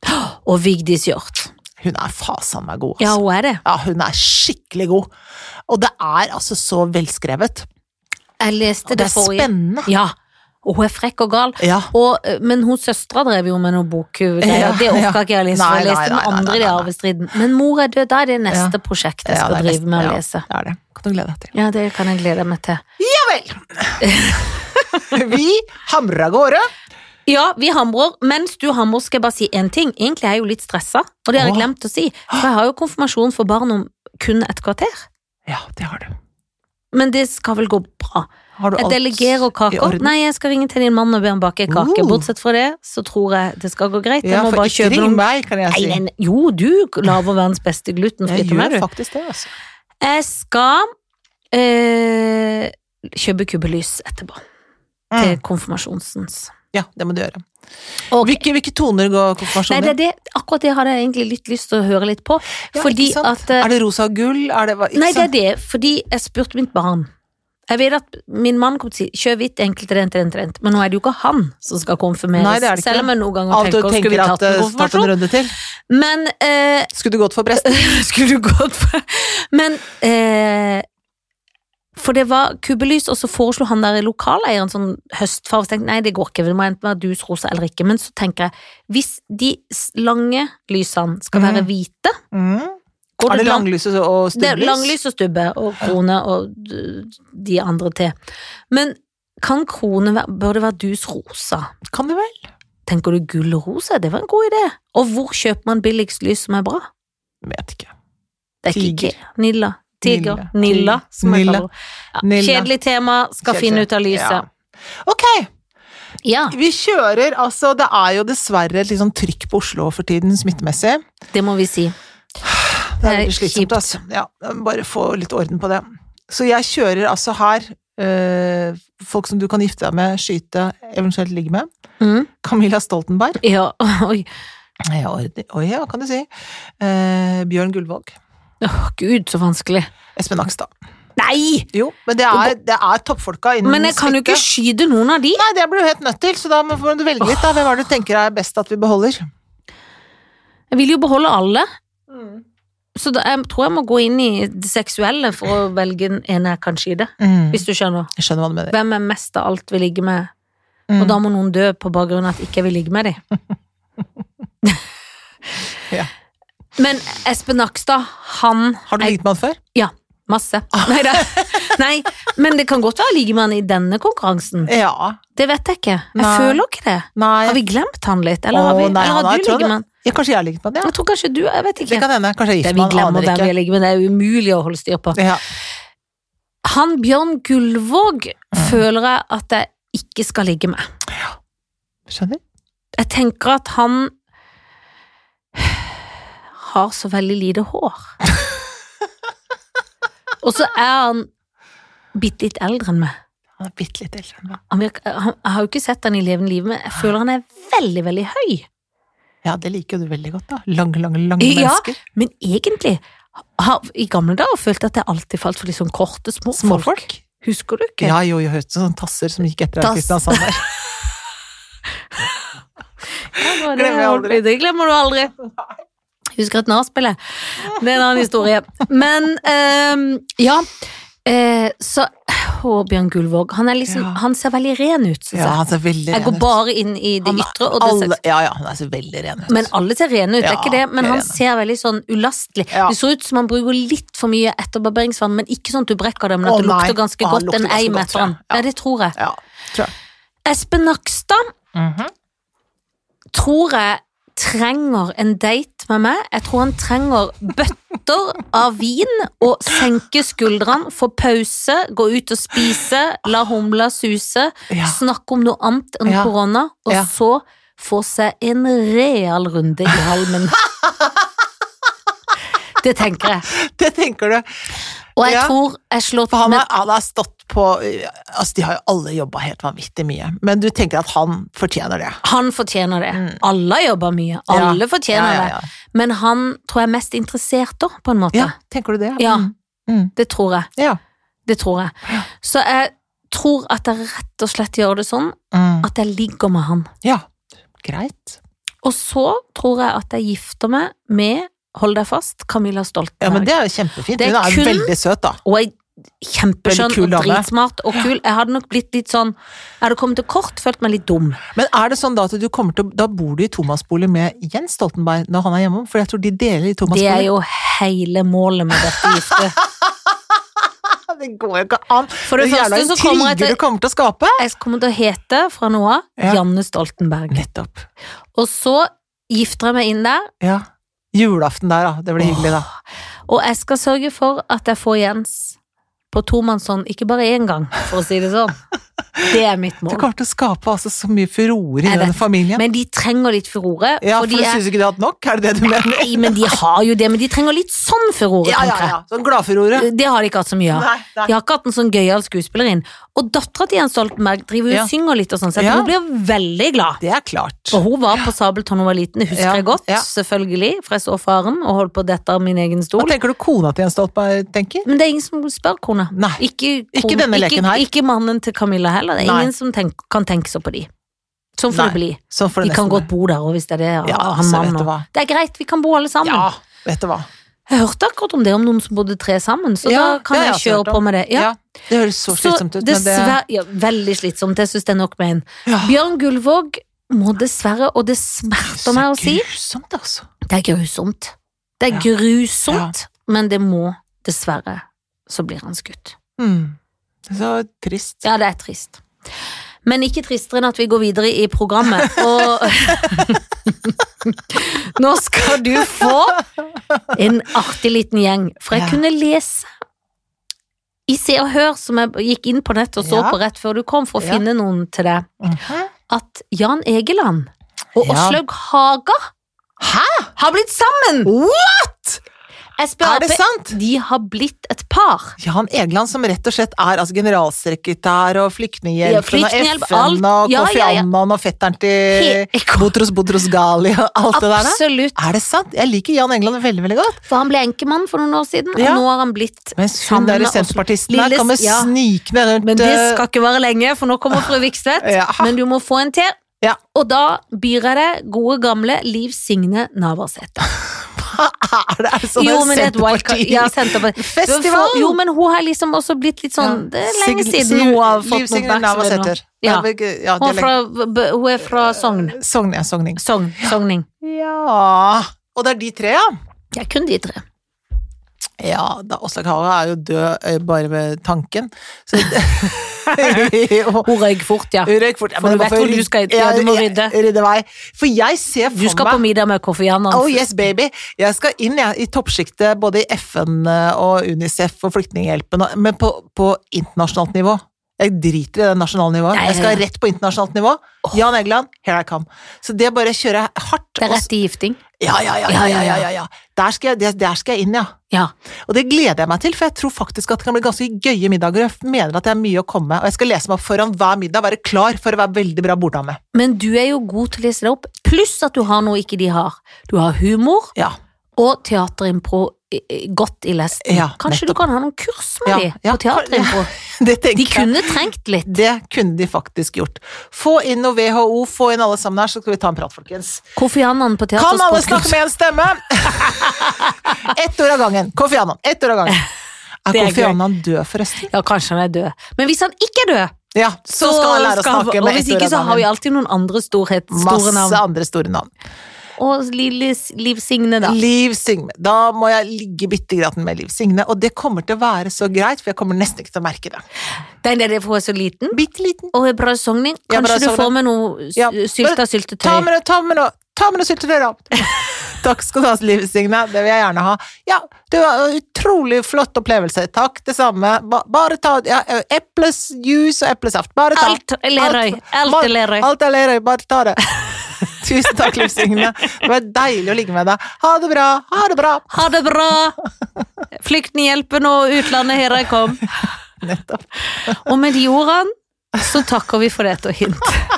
Speaker 2: Og Vigdis Hjort.
Speaker 1: Hun er fasan meg god.
Speaker 2: Ja,
Speaker 1: Altså.
Speaker 2: hun er det.
Speaker 1: Ja, hun er skikkelig god. Og det er altså så velskrevet.
Speaker 2: Jeg leste
Speaker 1: Og
Speaker 2: det,
Speaker 1: det er
Speaker 2: forrige.
Speaker 1: spennende.
Speaker 2: Ja. Og hun er frekk og gal.
Speaker 1: Ja.
Speaker 2: Og, eh, men hun søstera drev jo med noe bokgreier.
Speaker 1: Ja,
Speaker 2: det orka
Speaker 1: ja.
Speaker 2: ikke jeg å lese.
Speaker 1: Nei,
Speaker 2: for
Speaker 1: nei,
Speaker 2: Jeg leste
Speaker 1: nei,
Speaker 2: den
Speaker 1: nei,
Speaker 2: andre
Speaker 1: nei,
Speaker 2: i
Speaker 1: nei.
Speaker 2: arvestriden. Men mor er død. Da er det
Speaker 1: Ja.
Speaker 2: neste prosjekt jeg
Speaker 1: Ja,
Speaker 2: skal
Speaker 1: det er
Speaker 2: drive
Speaker 1: nesten-
Speaker 2: med å
Speaker 1: ja,
Speaker 2: lese.
Speaker 1: Det er det. Kan du glede deg til.
Speaker 2: Ja, det kan jeg glede meg til.
Speaker 1: Ja vel! Vi hamrer av gårde.
Speaker 2: Ja, vi hamrer. Mens du hamrer, skal jeg bare si én ting. Egentlig er jeg jo litt stressa, og det har jeg
Speaker 1: Åh.
Speaker 2: glemt å si. For jeg har jo konfirmasjon for barn om kun et kvarter.
Speaker 1: Ja, det har du.
Speaker 2: Men det skal vel gå bra.
Speaker 1: Har du
Speaker 2: Jeg
Speaker 1: alt
Speaker 2: delegerer
Speaker 1: i
Speaker 2: kaker.
Speaker 1: orden?
Speaker 2: Nei, jeg skal ringe til din mann og be han bake kake.
Speaker 1: Oh.
Speaker 2: Bortsett fra det, så tror jeg det skal gå greit. Jeg
Speaker 1: Ja,
Speaker 2: må
Speaker 1: for
Speaker 2: bare
Speaker 1: ikke
Speaker 2: kjøpe
Speaker 1: ring
Speaker 2: noen
Speaker 1: meg, kan jeg
Speaker 2: Nei,
Speaker 1: si.
Speaker 2: den, jo, du lager verdens beste glutenfrie
Speaker 1: Jeg
Speaker 2: til meg,
Speaker 1: gjør
Speaker 2: du.
Speaker 1: faktisk det, altså.
Speaker 2: Jeg skal eh, kjøpe kubbelys etterpå, til
Speaker 1: Mm.
Speaker 2: konfirmasjonsens.
Speaker 1: Ja, det må du gjøre.
Speaker 2: Ok.
Speaker 1: Hvilke, hvilke toner går konfirmasjonen
Speaker 2: Nei, det, er det, akkurat det hadde jeg egentlig litt lyst til å høre litt på.
Speaker 1: Ja,
Speaker 2: fordi
Speaker 1: ikke sant?
Speaker 2: at eh,
Speaker 1: Er det rosa og gull? Er det, hva- ikke
Speaker 2: Nei, det
Speaker 1: sant?
Speaker 2: er det, fordi jeg spurte mitt barn. Jeg vet at min mann kommer til å si 'kjør hvitt, enkelt, rent, rent, rent', men nå er det jo ikke han som skal konfirmeres.
Speaker 1: Nei, det er det ikke.
Speaker 2: Selv om jeg noen ganger
Speaker 1: Av og til
Speaker 2: tenker, skulle vi
Speaker 1: tenker at
Speaker 2: tatt en
Speaker 1: eh, tatt en
Speaker 2: konfirmasjon?
Speaker 1: runde til.
Speaker 2: Men eh,
Speaker 1: Skulle du gått for presten?
Speaker 2: Skulle du gått for Men eh, For det var kubbelys, og så foreslo han der lokaleieren sånn høstfarge. Så tenkte jeg, nei, det går ikke, det må enten være dus, rosa eller ikke. Men så tenker jeg, hvis de s- lange lysene skal være
Speaker 1: Mhm.
Speaker 2: hvite
Speaker 1: Mm.
Speaker 2: går
Speaker 1: Er det
Speaker 2: da-
Speaker 1: langlys og og
Speaker 2: det er
Speaker 1: stubblys?
Speaker 2: langlys og stubbe, og krone og d- de andre til. Men kan krone være Bør det være dus rosa?
Speaker 1: Kan det vel?
Speaker 2: Tenker du gull og rosa? Det var en god idé. Og hvor kjøper man billigst lys som er bra?
Speaker 1: Vet ikke.
Speaker 2: Det er ikke
Speaker 1: Tiger.
Speaker 2: Ikea. Nilla. Tiger.
Speaker 1: Nilla.
Speaker 2: Nilla, som jeg
Speaker 1: Nilla.
Speaker 2: kaller det. Ja,
Speaker 1: Nilla.
Speaker 2: Kjedelig tema, skal
Speaker 1: Kjedelig.
Speaker 2: finne ut av
Speaker 1: Ja.
Speaker 2: lyset.
Speaker 1: Ok,
Speaker 2: Ja.
Speaker 1: vi kjører altså Det er jo dessverre et litt sånn trykk på Oslo for tiden, smittemessig.
Speaker 2: det må vi si.
Speaker 1: Det
Speaker 2: Det
Speaker 1: er
Speaker 2: er
Speaker 1: veldig slitsomt,
Speaker 2: kjipt.
Speaker 1: altså. Ja, jeg må bare få litt orden på det. Så jeg kjører altså her eh, folk som du kan gifte deg med, skyte, eventuelt ligge med.
Speaker 2: Mm.
Speaker 1: Camilla Stoltenberg.
Speaker 2: Ja, oi.
Speaker 1: Ja, orden- Oi, ja, kan du si. Eh, Bjørn Gullvåg.
Speaker 2: Åh, Gud, så vanskelig.
Speaker 1: Espen Nakstad.
Speaker 2: Nei!
Speaker 1: Jo, men det er, det er toppfolka innen
Speaker 2: Men jeg kan jo ikke
Speaker 1: smitte.
Speaker 2: skyte noen av de.
Speaker 1: Nei, det blir du helt nødt til, så da må får du velge litt, da. Hvem er det du tenker er best at vi beholder?
Speaker 2: Jeg vil jo beholde alle.
Speaker 1: Mm.
Speaker 2: Så da, jeg tror jeg må gå inn i det seksuelle for å velge den ene jeg kan skyte.
Speaker 1: Mm.
Speaker 2: Hvis du skjønner.
Speaker 1: Jeg skjønner hva du mener.
Speaker 2: Hvem er mest av alt vi ligger med?
Speaker 1: Mm.
Speaker 2: Og da må noen dø på bakgrunn av at ikke jeg vil ligge med dem.
Speaker 1: Ja.
Speaker 2: Men Espen Nakstad, han
Speaker 1: Har du ligget med han før?
Speaker 2: Ja, masse. Nei da. Nei, men det kan godt være jeg ligger med han i denne konkurransen.
Speaker 1: Ja.
Speaker 2: Det vet jeg ikke. Jeg
Speaker 1: Nei.
Speaker 2: føler ikke det. Har
Speaker 1: Nei.
Speaker 2: vi glemt han litt, eller har, vi,
Speaker 1: Å, nei,
Speaker 2: eller
Speaker 1: han
Speaker 2: har
Speaker 1: er-
Speaker 2: du
Speaker 1: tror
Speaker 2: ligget med
Speaker 1: han-
Speaker 2: han?
Speaker 1: Ja, kanskje jeg har ligget med han, ja.
Speaker 2: Jeg tror kanskje du, jeg vet
Speaker 1: Det
Speaker 2: ikke.
Speaker 1: kan hende. Kanskje jeg er
Speaker 2: Det
Speaker 1: gift
Speaker 2: vi
Speaker 1: med han,
Speaker 2: glemmer
Speaker 1: aner
Speaker 2: hvem vi
Speaker 1: ikke.
Speaker 2: ligger med, det er umulig å holde styr på.
Speaker 1: Ja.
Speaker 2: Han Bjørn Gullvåg føler jeg at jeg ikke skal ligge med.
Speaker 1: Skjønner?
Speaker 2: Jeg tenker at han har så veldig lite hår. Og så er han bitte litt eldre enn meg.
Speaker 1: Han er bitte litt eldre enn meg.
Speaker 2: Han virker, han, jeg har jo ikke sett han i levende liv, men jeg føler han er veldig, veldig høy.
Speaker 1: Ja, det liker jo du veldig godt, da. Lange, lange, lange
Speaker 2: Ja.
Speaker 1: mennesker.
Speaker 2: Men egentlig har i gamle dager følt at jeg alltid falt for de sånn korte, små, folk.
Speaker 1: Småfolk.
Speaker 2: Husker du ikke?
Speaker 1: Ja, jo, jo, hørte sånne tasser som gikk etter
Speaker 2: Tass.
Speaker 1: Kristiansand der.
Speaker 2: det, var
Speaker 1: glemmer jeg aldri.
Speaker 2: det glemmer du aldri. Husker et nachspielet. Det er en annen historie. Men ehm, ja, eh, så Å, Bjørn Gullvåg. Han, er liksom,
Speaker 1: Ja.
Speaker 2: han ser veldig ren ut, syns
Speaker 1: Ja,
Speaker 2: jeg.
Speaker 1: han ser veldig
Speaker 2: Jeg går
Speaker 1: ren ut.
Speaker 2: bare inn i det
Speaker 1: Han er-
Speaker 2: ytre. Og det
Speaker 1: alle-
Speaker 2: seksuelle.
Speaker 1: Ja, ja, han er så veldig ren ut.
Speaker 2: Men alle ser rene ut, det er
Speaker 1: Ja,
Speaker 2: ikke det? Men
Speaker 1: de er
Speaker 2: han
Speaker 1: rene.
Speaker 2: ser veldig sånn ulastelig.
Speaker 1: Ja.
Speaker 2: Det ser ut som han bruker litt for mye etterbarberingsvann, men ikke sånn at du brekker det, men
Speaker 1: Å,
Speaker 2: at det
Speaker 1: nei.
Speaker 2: lukter ganske
Speaker 1: Ja, han
Speaker 2: godt
Speaker 1: lukter
Speaker 2: en
Speaker 1: ganske
Speaker 2: eim
Speaker 1: godt,
Speaker 2: etter
Speaker 1: tror jeg. Ja.
Speaker 2: han. Ja, det tror jeg.
Speaker 1: Ja, tror jeg.
Speaker 2: Espen Nakstad
Speaker 1: Mhm.
Speaker 2: tror jeg trenger en date med meg. Jeg tror han trenger bøtter av vin og senke skuldrene, få pause, gå ut og spise, la humla suse,
Speaker 1: Ja.
Speaker 2: snakke om noe annet enn
Speaker 1: Ja.
Speaker 2: korona, og
Speaker 1: Ja.
Speaker 2: så få seg en real runde i halmen. Det tenker jeg.
Speaker 1: Det tenker du.
Speaker 2: Og jeg
Speaker 1: Ja.
Speaker 2: tror jeg slår
Speaker 1: For han,
Speaker 2: men-
Speaker 1: har, han har stått på eh, Altså, de har jo alle jobba helt vanvittig mye, men du tenker at han fortjener det.
Speaker 2: Han fortjener det. Alle jobber mye.
Speaker 1: Mm. Ja.
Speaker 2: Alle
Speaker 1: Ja,
Speaker 2: fortjener
Speaker 1: ja, ja.
Speaker 2: det. Men han tror jeg er mest interessert, da, på en måte.
Speaker 1: Ja, tenker du det?
Speaker 2: Ja.
Speaker 1: Mm. Mm.
Speaker 2: Det tror jeg.
Speaker 1: Ja.
Speaker 2: Det tror jeg. Så jeg tror at jeg rett og slett gjør det sånn
Speaker 1: Mm.
Speaker 2: at jeg ligger med han.
Speaker 1: ja. Greit.
Speaker 2: Og så tror jeg at jeg gifter meg med Hold deg fast, Camilla Stoltenberg.
Speaker 1: Ja, men det er jo kjempefint.
Speaker 2: Det
Speaker 1: Hun
Speaker 2: er
Speaker 1: er jo
Speaker 2: kun-
Speaker 1: veldig søt, da.
Speaker 2: Og ei kjempeskjønn
Speaker 1: Veldig kul
Speaker 2: og
Speaker 1: dame.
Speaker 2: dritsmart og kul. Jeg hadde nok blitt litt sånn Jeg hadde kommet til kort, følt meg litt dum.
Speaker 1: Men er det sånn da at du kommer til å Da bor du i tomannsbolig med Jens Stoltenberg når han er hjemme, for jeg tror de deler i
Speaker 2: Det er
Speaker 1: tomannsbolig.
Speaker 2: jo hele målet med dette giftet.
Speaker 1: Det, det går jo ikke an!
Speaker 2: For det
Speaker 1: Den jævla
Speaker 2: første så kommer jeg
Speaker 1: intriger
Speaker 2: til
Speaker 1: du kommer til å skape!
Speaker 2: Jeg kommer til å hete fra nå av
Speaker 1: Ja.
Speaker 2: Janne Stoltenberg.
Speaker 1: Nettopp.
Speaker 2: Og så gifter jeg meg inn der,
Speaker 1: Ja. Julaften der, da. Det blir hyggelig, da.
Speaker 2: og jeg skal sørge for at jeg får Jens på tomannshånd, ikke bare én gang, for å si det sånn. Det er mitt
Speaker 1: Du
Speaker 2: mål.
Speaker 1: kommer til å skape altså så mye furore i
Speaker 2: Jeg
Speaker 1: den
Speaker 2: vet.
Speaker 1: familien.
Speaker 2: Men de trenger litt furore.
Speaker 1: ja, for
Speaker 2: for
Speaker 1: du
Speaker 2: de er,
Speaker 1: synes ikke du har hatt nok? Er det det du mener?
Speaker 2: nei, men de har jo det, men de trenger litt sånn furore,
Speaker 1: Ja, ja,
Speaker 2: tenker jeg.
Speaker 1: ja. Sånn gladfurore.
Speaker 2: Det har de ikke hatt så mye av.
Speaker 1: Nei, nei.
Speaker 2: De har ikke hatt en sånn gøyal skuespillerinne. Og dattera til Jens Stoltenberg driver jo
Speaker 1: Ja.
Speaker 2: og synger litt, og sånn, så jeg
Speaker 1: Ja.
Speaker 2: tror hun blir veldig glad.
Speaker 1: Det er klart.
Speaker 2: Og hun var på Sabeltann da hun var liten, det husker
Speaker 1: Ja,
Speaker 2: jeg godt,
Speaker 1: ja.
Speaker 2: selvfølgelig, for jeg så faren og holdt på å dette av min egen
Speaker 1: Hva
Speaker 2: stol.
Speaker 1: tenker du kona til Jens Stoltenberg tenker?
Speaker 2: Men det er ingen som spør kona.
Speaker 1: Nei.
Speaker 2: Ikke,
Speaker 1: Ikke
Speaker 2: kona-
Speaker 1: denne leken her.
Speaker 2: Ikke, ikke mannen til Camilla heller. Det er
Speaker 1: Nei.
Speaker 2: ingen som tenk, kan tenke så på de. Sånn får
Speaker 1: Nei,
Speaker 2: det bli.
Speaker 1: Sånn for
Speaker 2: De
Speaker 1: det
Speaker 2: kan
Speaker 1: nesten
Speaker 2: godt bo der òg, hvis det er det.
Speaker 1: Ja,
Speaker 2: han
Speaker 1: altså,
Speaker 2: mannen
Speaker 1: vet du
Speaker 2: også.
Speaker 1: hva.
Speaker 2: Det er greit, vi kan bo alle sammen.
Speaker 1: Ja, vet du hva.
Speaker 2: Jeg hørte akkurat om det om noen som bodde tre sammen, så
Speaker 1: Ja,
Speaker 2: da kan
Speaker 1: det har
Speaker 2: jeg
Speaker 1: jeg
Speaker 2: kjøre
Speaker 1: også hørt
Speaker 2: på
Speaker 1: om.
Speaker 2: med det. Ja.
Speaker 1: Ja, det høres så slitsomt ut, men det
Speaker 2: dessverre, ja, Veldig slitsomt, jeg synes det er nok med en.
Speaker 1: Ja.
Speaker 2: Bjørn Gullvåg må dessverre, og det smerter meg å si,
Speaker 1: Grusomt, altså.
Speaker 2: det er grusomt. Det er
Speaker 1: Ja.
Speaker 2: grusomt, men det må dessverre, så blir han skutt.
Speaker 1: Mm. Det er Så trist.
Speaker 2: Ja, det er trist. Men ikke tristere enn at vi går videre i programmet, og Nå skal du få en artig liten gjeng, for jeg
Speaker 1: Ja.
Speaker 2: kunne lese i Se og Hør, som jeg gikk inn på nettet og så
Speaker 1: Ja.
Speaker 2: på rett før du kom, for å
Speaker 1: Ja.
Speaker 2: finne noen til deg.
Speaker 1: Mhm.
Speaker 2: at Jan Egeland og
Speaker 1: Ja.
Speaker 2: Åslaug Haga
Speaker 1: Hæ?
Speaker 2: har blitt sammen! What?! Jeg spør
Speaker 1: Er det
Speaker 2: Ap-
Speaker 1: sant?
Speaker 2: De har blitt et par.
Speaker 1: Jan Egeland, som rett og slett er altså, generalsekretær og flyktninghjelpen
Speaker 2: Ja,
Speaker 1: og
Speaker 2: Flyktninghjelp,
Speaker 1: FN
Speaker 2: alt.
Speaker 1: og
Speaker 2: Ja,
Speaker 1: Kofi
Speaker 2: ja, ja.
Speaker 1: Annan og fetteren til
Speaker 2: He- Ko-
Speaker 1: Botros Botros Gali og alt det der. da.
Speaker 2: Absolutt.
Speaker 1: Er det sant? Jeg liker Jan Egeland veldig veldig godt.
Speaker 2: For han ble enkemann for noen år siden,
Speaker 1: Ja.
Speaker 2: og nå har han blitt
Speaker 1: Mens hun
Speaker 2: sammen
Speaker 1: der
Speaker 2: med Åslaug.
Speaker 1: senterpartisten der
Speaker 2: Lille-
Speaker 1: kommer
Speaker 2: ja.
Speaker 1: snikende rundt
Speaker 2: Men det
Speaker 1: eh,
Speaker 2: skal ikke være lenge, for nå kommer fru Vikstvedt.
Speaker 1: Ja.
Speaker 2: Men du må få en til.
Speaker 1: Ja.
Speaker 2: Og da byr jeg deg gode gamle Liv Signe Navarsete.
Speaker 1: Er det, er det sånn
Speaker 2: Jo,
Speaker 1: en
Speaker 2: men det er et wildcard. Ja, Senterpartiet.
Speaker 1: Senterpartifestival?
Speaker 2: Jo, men hun har liksom også blitt litt sånn Det er lenge
Speaker 1: Sig-
Speaker 2: siden
Speaker 1: Sig-
Speaker 2: hun har fått
Speaker 1: Liv
Speaker 2: noe
Speaker 1: Signe
Speaker 2: oppmerksomhet. nå.
Speaker 1: Navarsete.
Speaker 2: Ja.
Speaker 1: Ja, det er
Speaker 2: Hun er,
Speaker 1: lenge-
Speaker 2: fra, b- hun er fra Sogn.
Speaker 1: Sogn, ja, Sogning.
Speaker 2: Sogn. Sogning.
Speaker 1: Ja Og det er de tre, ja?
Speaker 2: Det er kun de tre.
Speaker 1: Ja, da Åslaug Haga er jo død eh, bare ved tanken. Så Jo.
Speaker 2: Hun røyk fort, ja.
Speaker 1: Røyk fort. Ja,
Speaker 2: For
Speaker 1: men det
Speaker 2: du
Speaker 1: var
Speaker 2: vet
Speaker 1: for å
Speaker 2: hvor du
Speaker 1: ryd-
Speaker 2: skal- ja, du må rydde.
Speaker 1: Rydde vei. For jeg ser for
Speaker 2: Du skal på
Speaker 1: meg
Speaker 2: middag med Kofi Annan.
Speaker 1: Oh yes, baby! Jeg skal inn jeg, i toppsjiktet både i FN og Unicef og Flyktninghjelpen, og- men på, på internasjonalt nivå. Jeg driter i det nasjonale nivået.
Speaker 2: Nei,
Speaker 1: Jeg skal
Speaker 2: ja, ja.
Speaker 1: rett på internasjonalt nivå. Jan Egeland, here I come. Så det bare kjører jeg hardt.
Speaker 2: Det er
Speaker 1: og s-
Speaker 2: rett i gifting.
Speaker 1: Ja, ja, ja. ja, ja, ja, ja, ja. Der, skal jeg, der, der skal jeg inn, ja.
Speaker 2: Ja.
Speaker 1: Og det gleder jeg meg til, for jeg tror faktisk at det kan bli ganske gøye middager. og Jeg mener at det er mye å komme med, og jeg skal lese meg opp foran hver middag, være klar for å være veldig bra borddame.
Speaker 2: Men du er jo god til å lese deg opp, pluss at du har noe ikke de har. Du har humor
Speaker 1: Ja.
Speaker 2: og teaterimpro i- i- godt i lesten.
Speaker 1: Ja,
Speaker 2: Kanskje du kan ha noen kurs med
Speaker 1: Ja,
Speaker 2: de
Speaker 1: ja.
Speaker 2: på teaterimpro.
Speaker 1: Det
Speaker 2: De
Speaker 1: tenker jeg.
Speaker 2: kunne trengt litt.
Speaker 1: Det kunne de faktisk gjort. Få inn noe WHO, få inn alle sammen her, så skal vi ta en prat, folkens.
Speaker 2: Kofi Annan på
Speaker 1: Kan alle snakke
Speaker 2: teatersportkurs.
Speaker 1: med en stemme? Ett ord av gangen. Kofi Annan. Ett ord av gangen. Er
Speaker 2: Det er
Speaker 1: Kofi
Speaker 2: gøy.
Speaker 1: Annan død, forresten?
Speaker 2: Ja, kanskje han er død. Men hvis han ikke er død,
Speaker 1: Ja, så skal han lære å
Speaker 2: skal-
Speaker 1: snakke
Speaker 2: Og
Speaker 1: med
Speaker 2: hvis
Speaker 1: ett ord
Speaker 2: ikke,
Speaker 1: av
Speaker 2: så har vi
Speaker 1: gangen.
Speaker 2: alltid noen andre storhet, store navn.
Speaker 1: Masse andre store navn.
Speaker 2: Og Lille S- Liv Signe, da.
Speaker 1: Liv Signe. Da må jeg ligge bitte grann med Liv Signe, og det kommer til å være så greit, for jeg kommer nesten ikke til å merke det.
Speaker 2: Den er det for hun er så liten.
Speaker 1: Bitte liten.
Speaker 2: Og er bra sogning.
Speaker 1: Ja, bra
Speaker 2: Kanskje du
Speaker 1: sogning.
Speaker 2: får med noe s-
Speaker 1: Ja,
Speaker 2: sylta
Speaker 1: men Ta
Speaker 2: syltetøy.
Speaker 1: med noe, ta med noe, ta med noe syltetøy, da. Takk skal du ha, Liv Signe, det vil jeg gjerne ha. Ja, det var en utrolig flott opplevelse, takk, det samme. Ba, bare ta ja, eplesjuice og eplesaft, bare ta.
Speaker 2: Alt er Lerøy. Alt
Speaker 1: Alt-
Speaker 2: er Lerøy.
Speaker 1: Alt er Lerøy, bare ta det. Tusen takk, Liv Signe. Det var deilig å ligge med deg. Ha det bra, ha det bra.
Speaker 2: Ha det bra! Flyktninghjelpen og utlandet, her jeg kom.
Speaker 1: Nettopp.
Speaker 2: Og med de ordene så takker vi for dette og hint.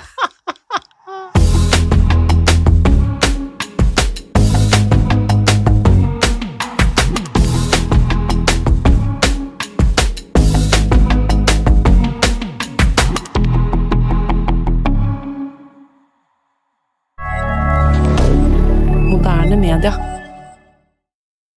Speaker 3: moderne media.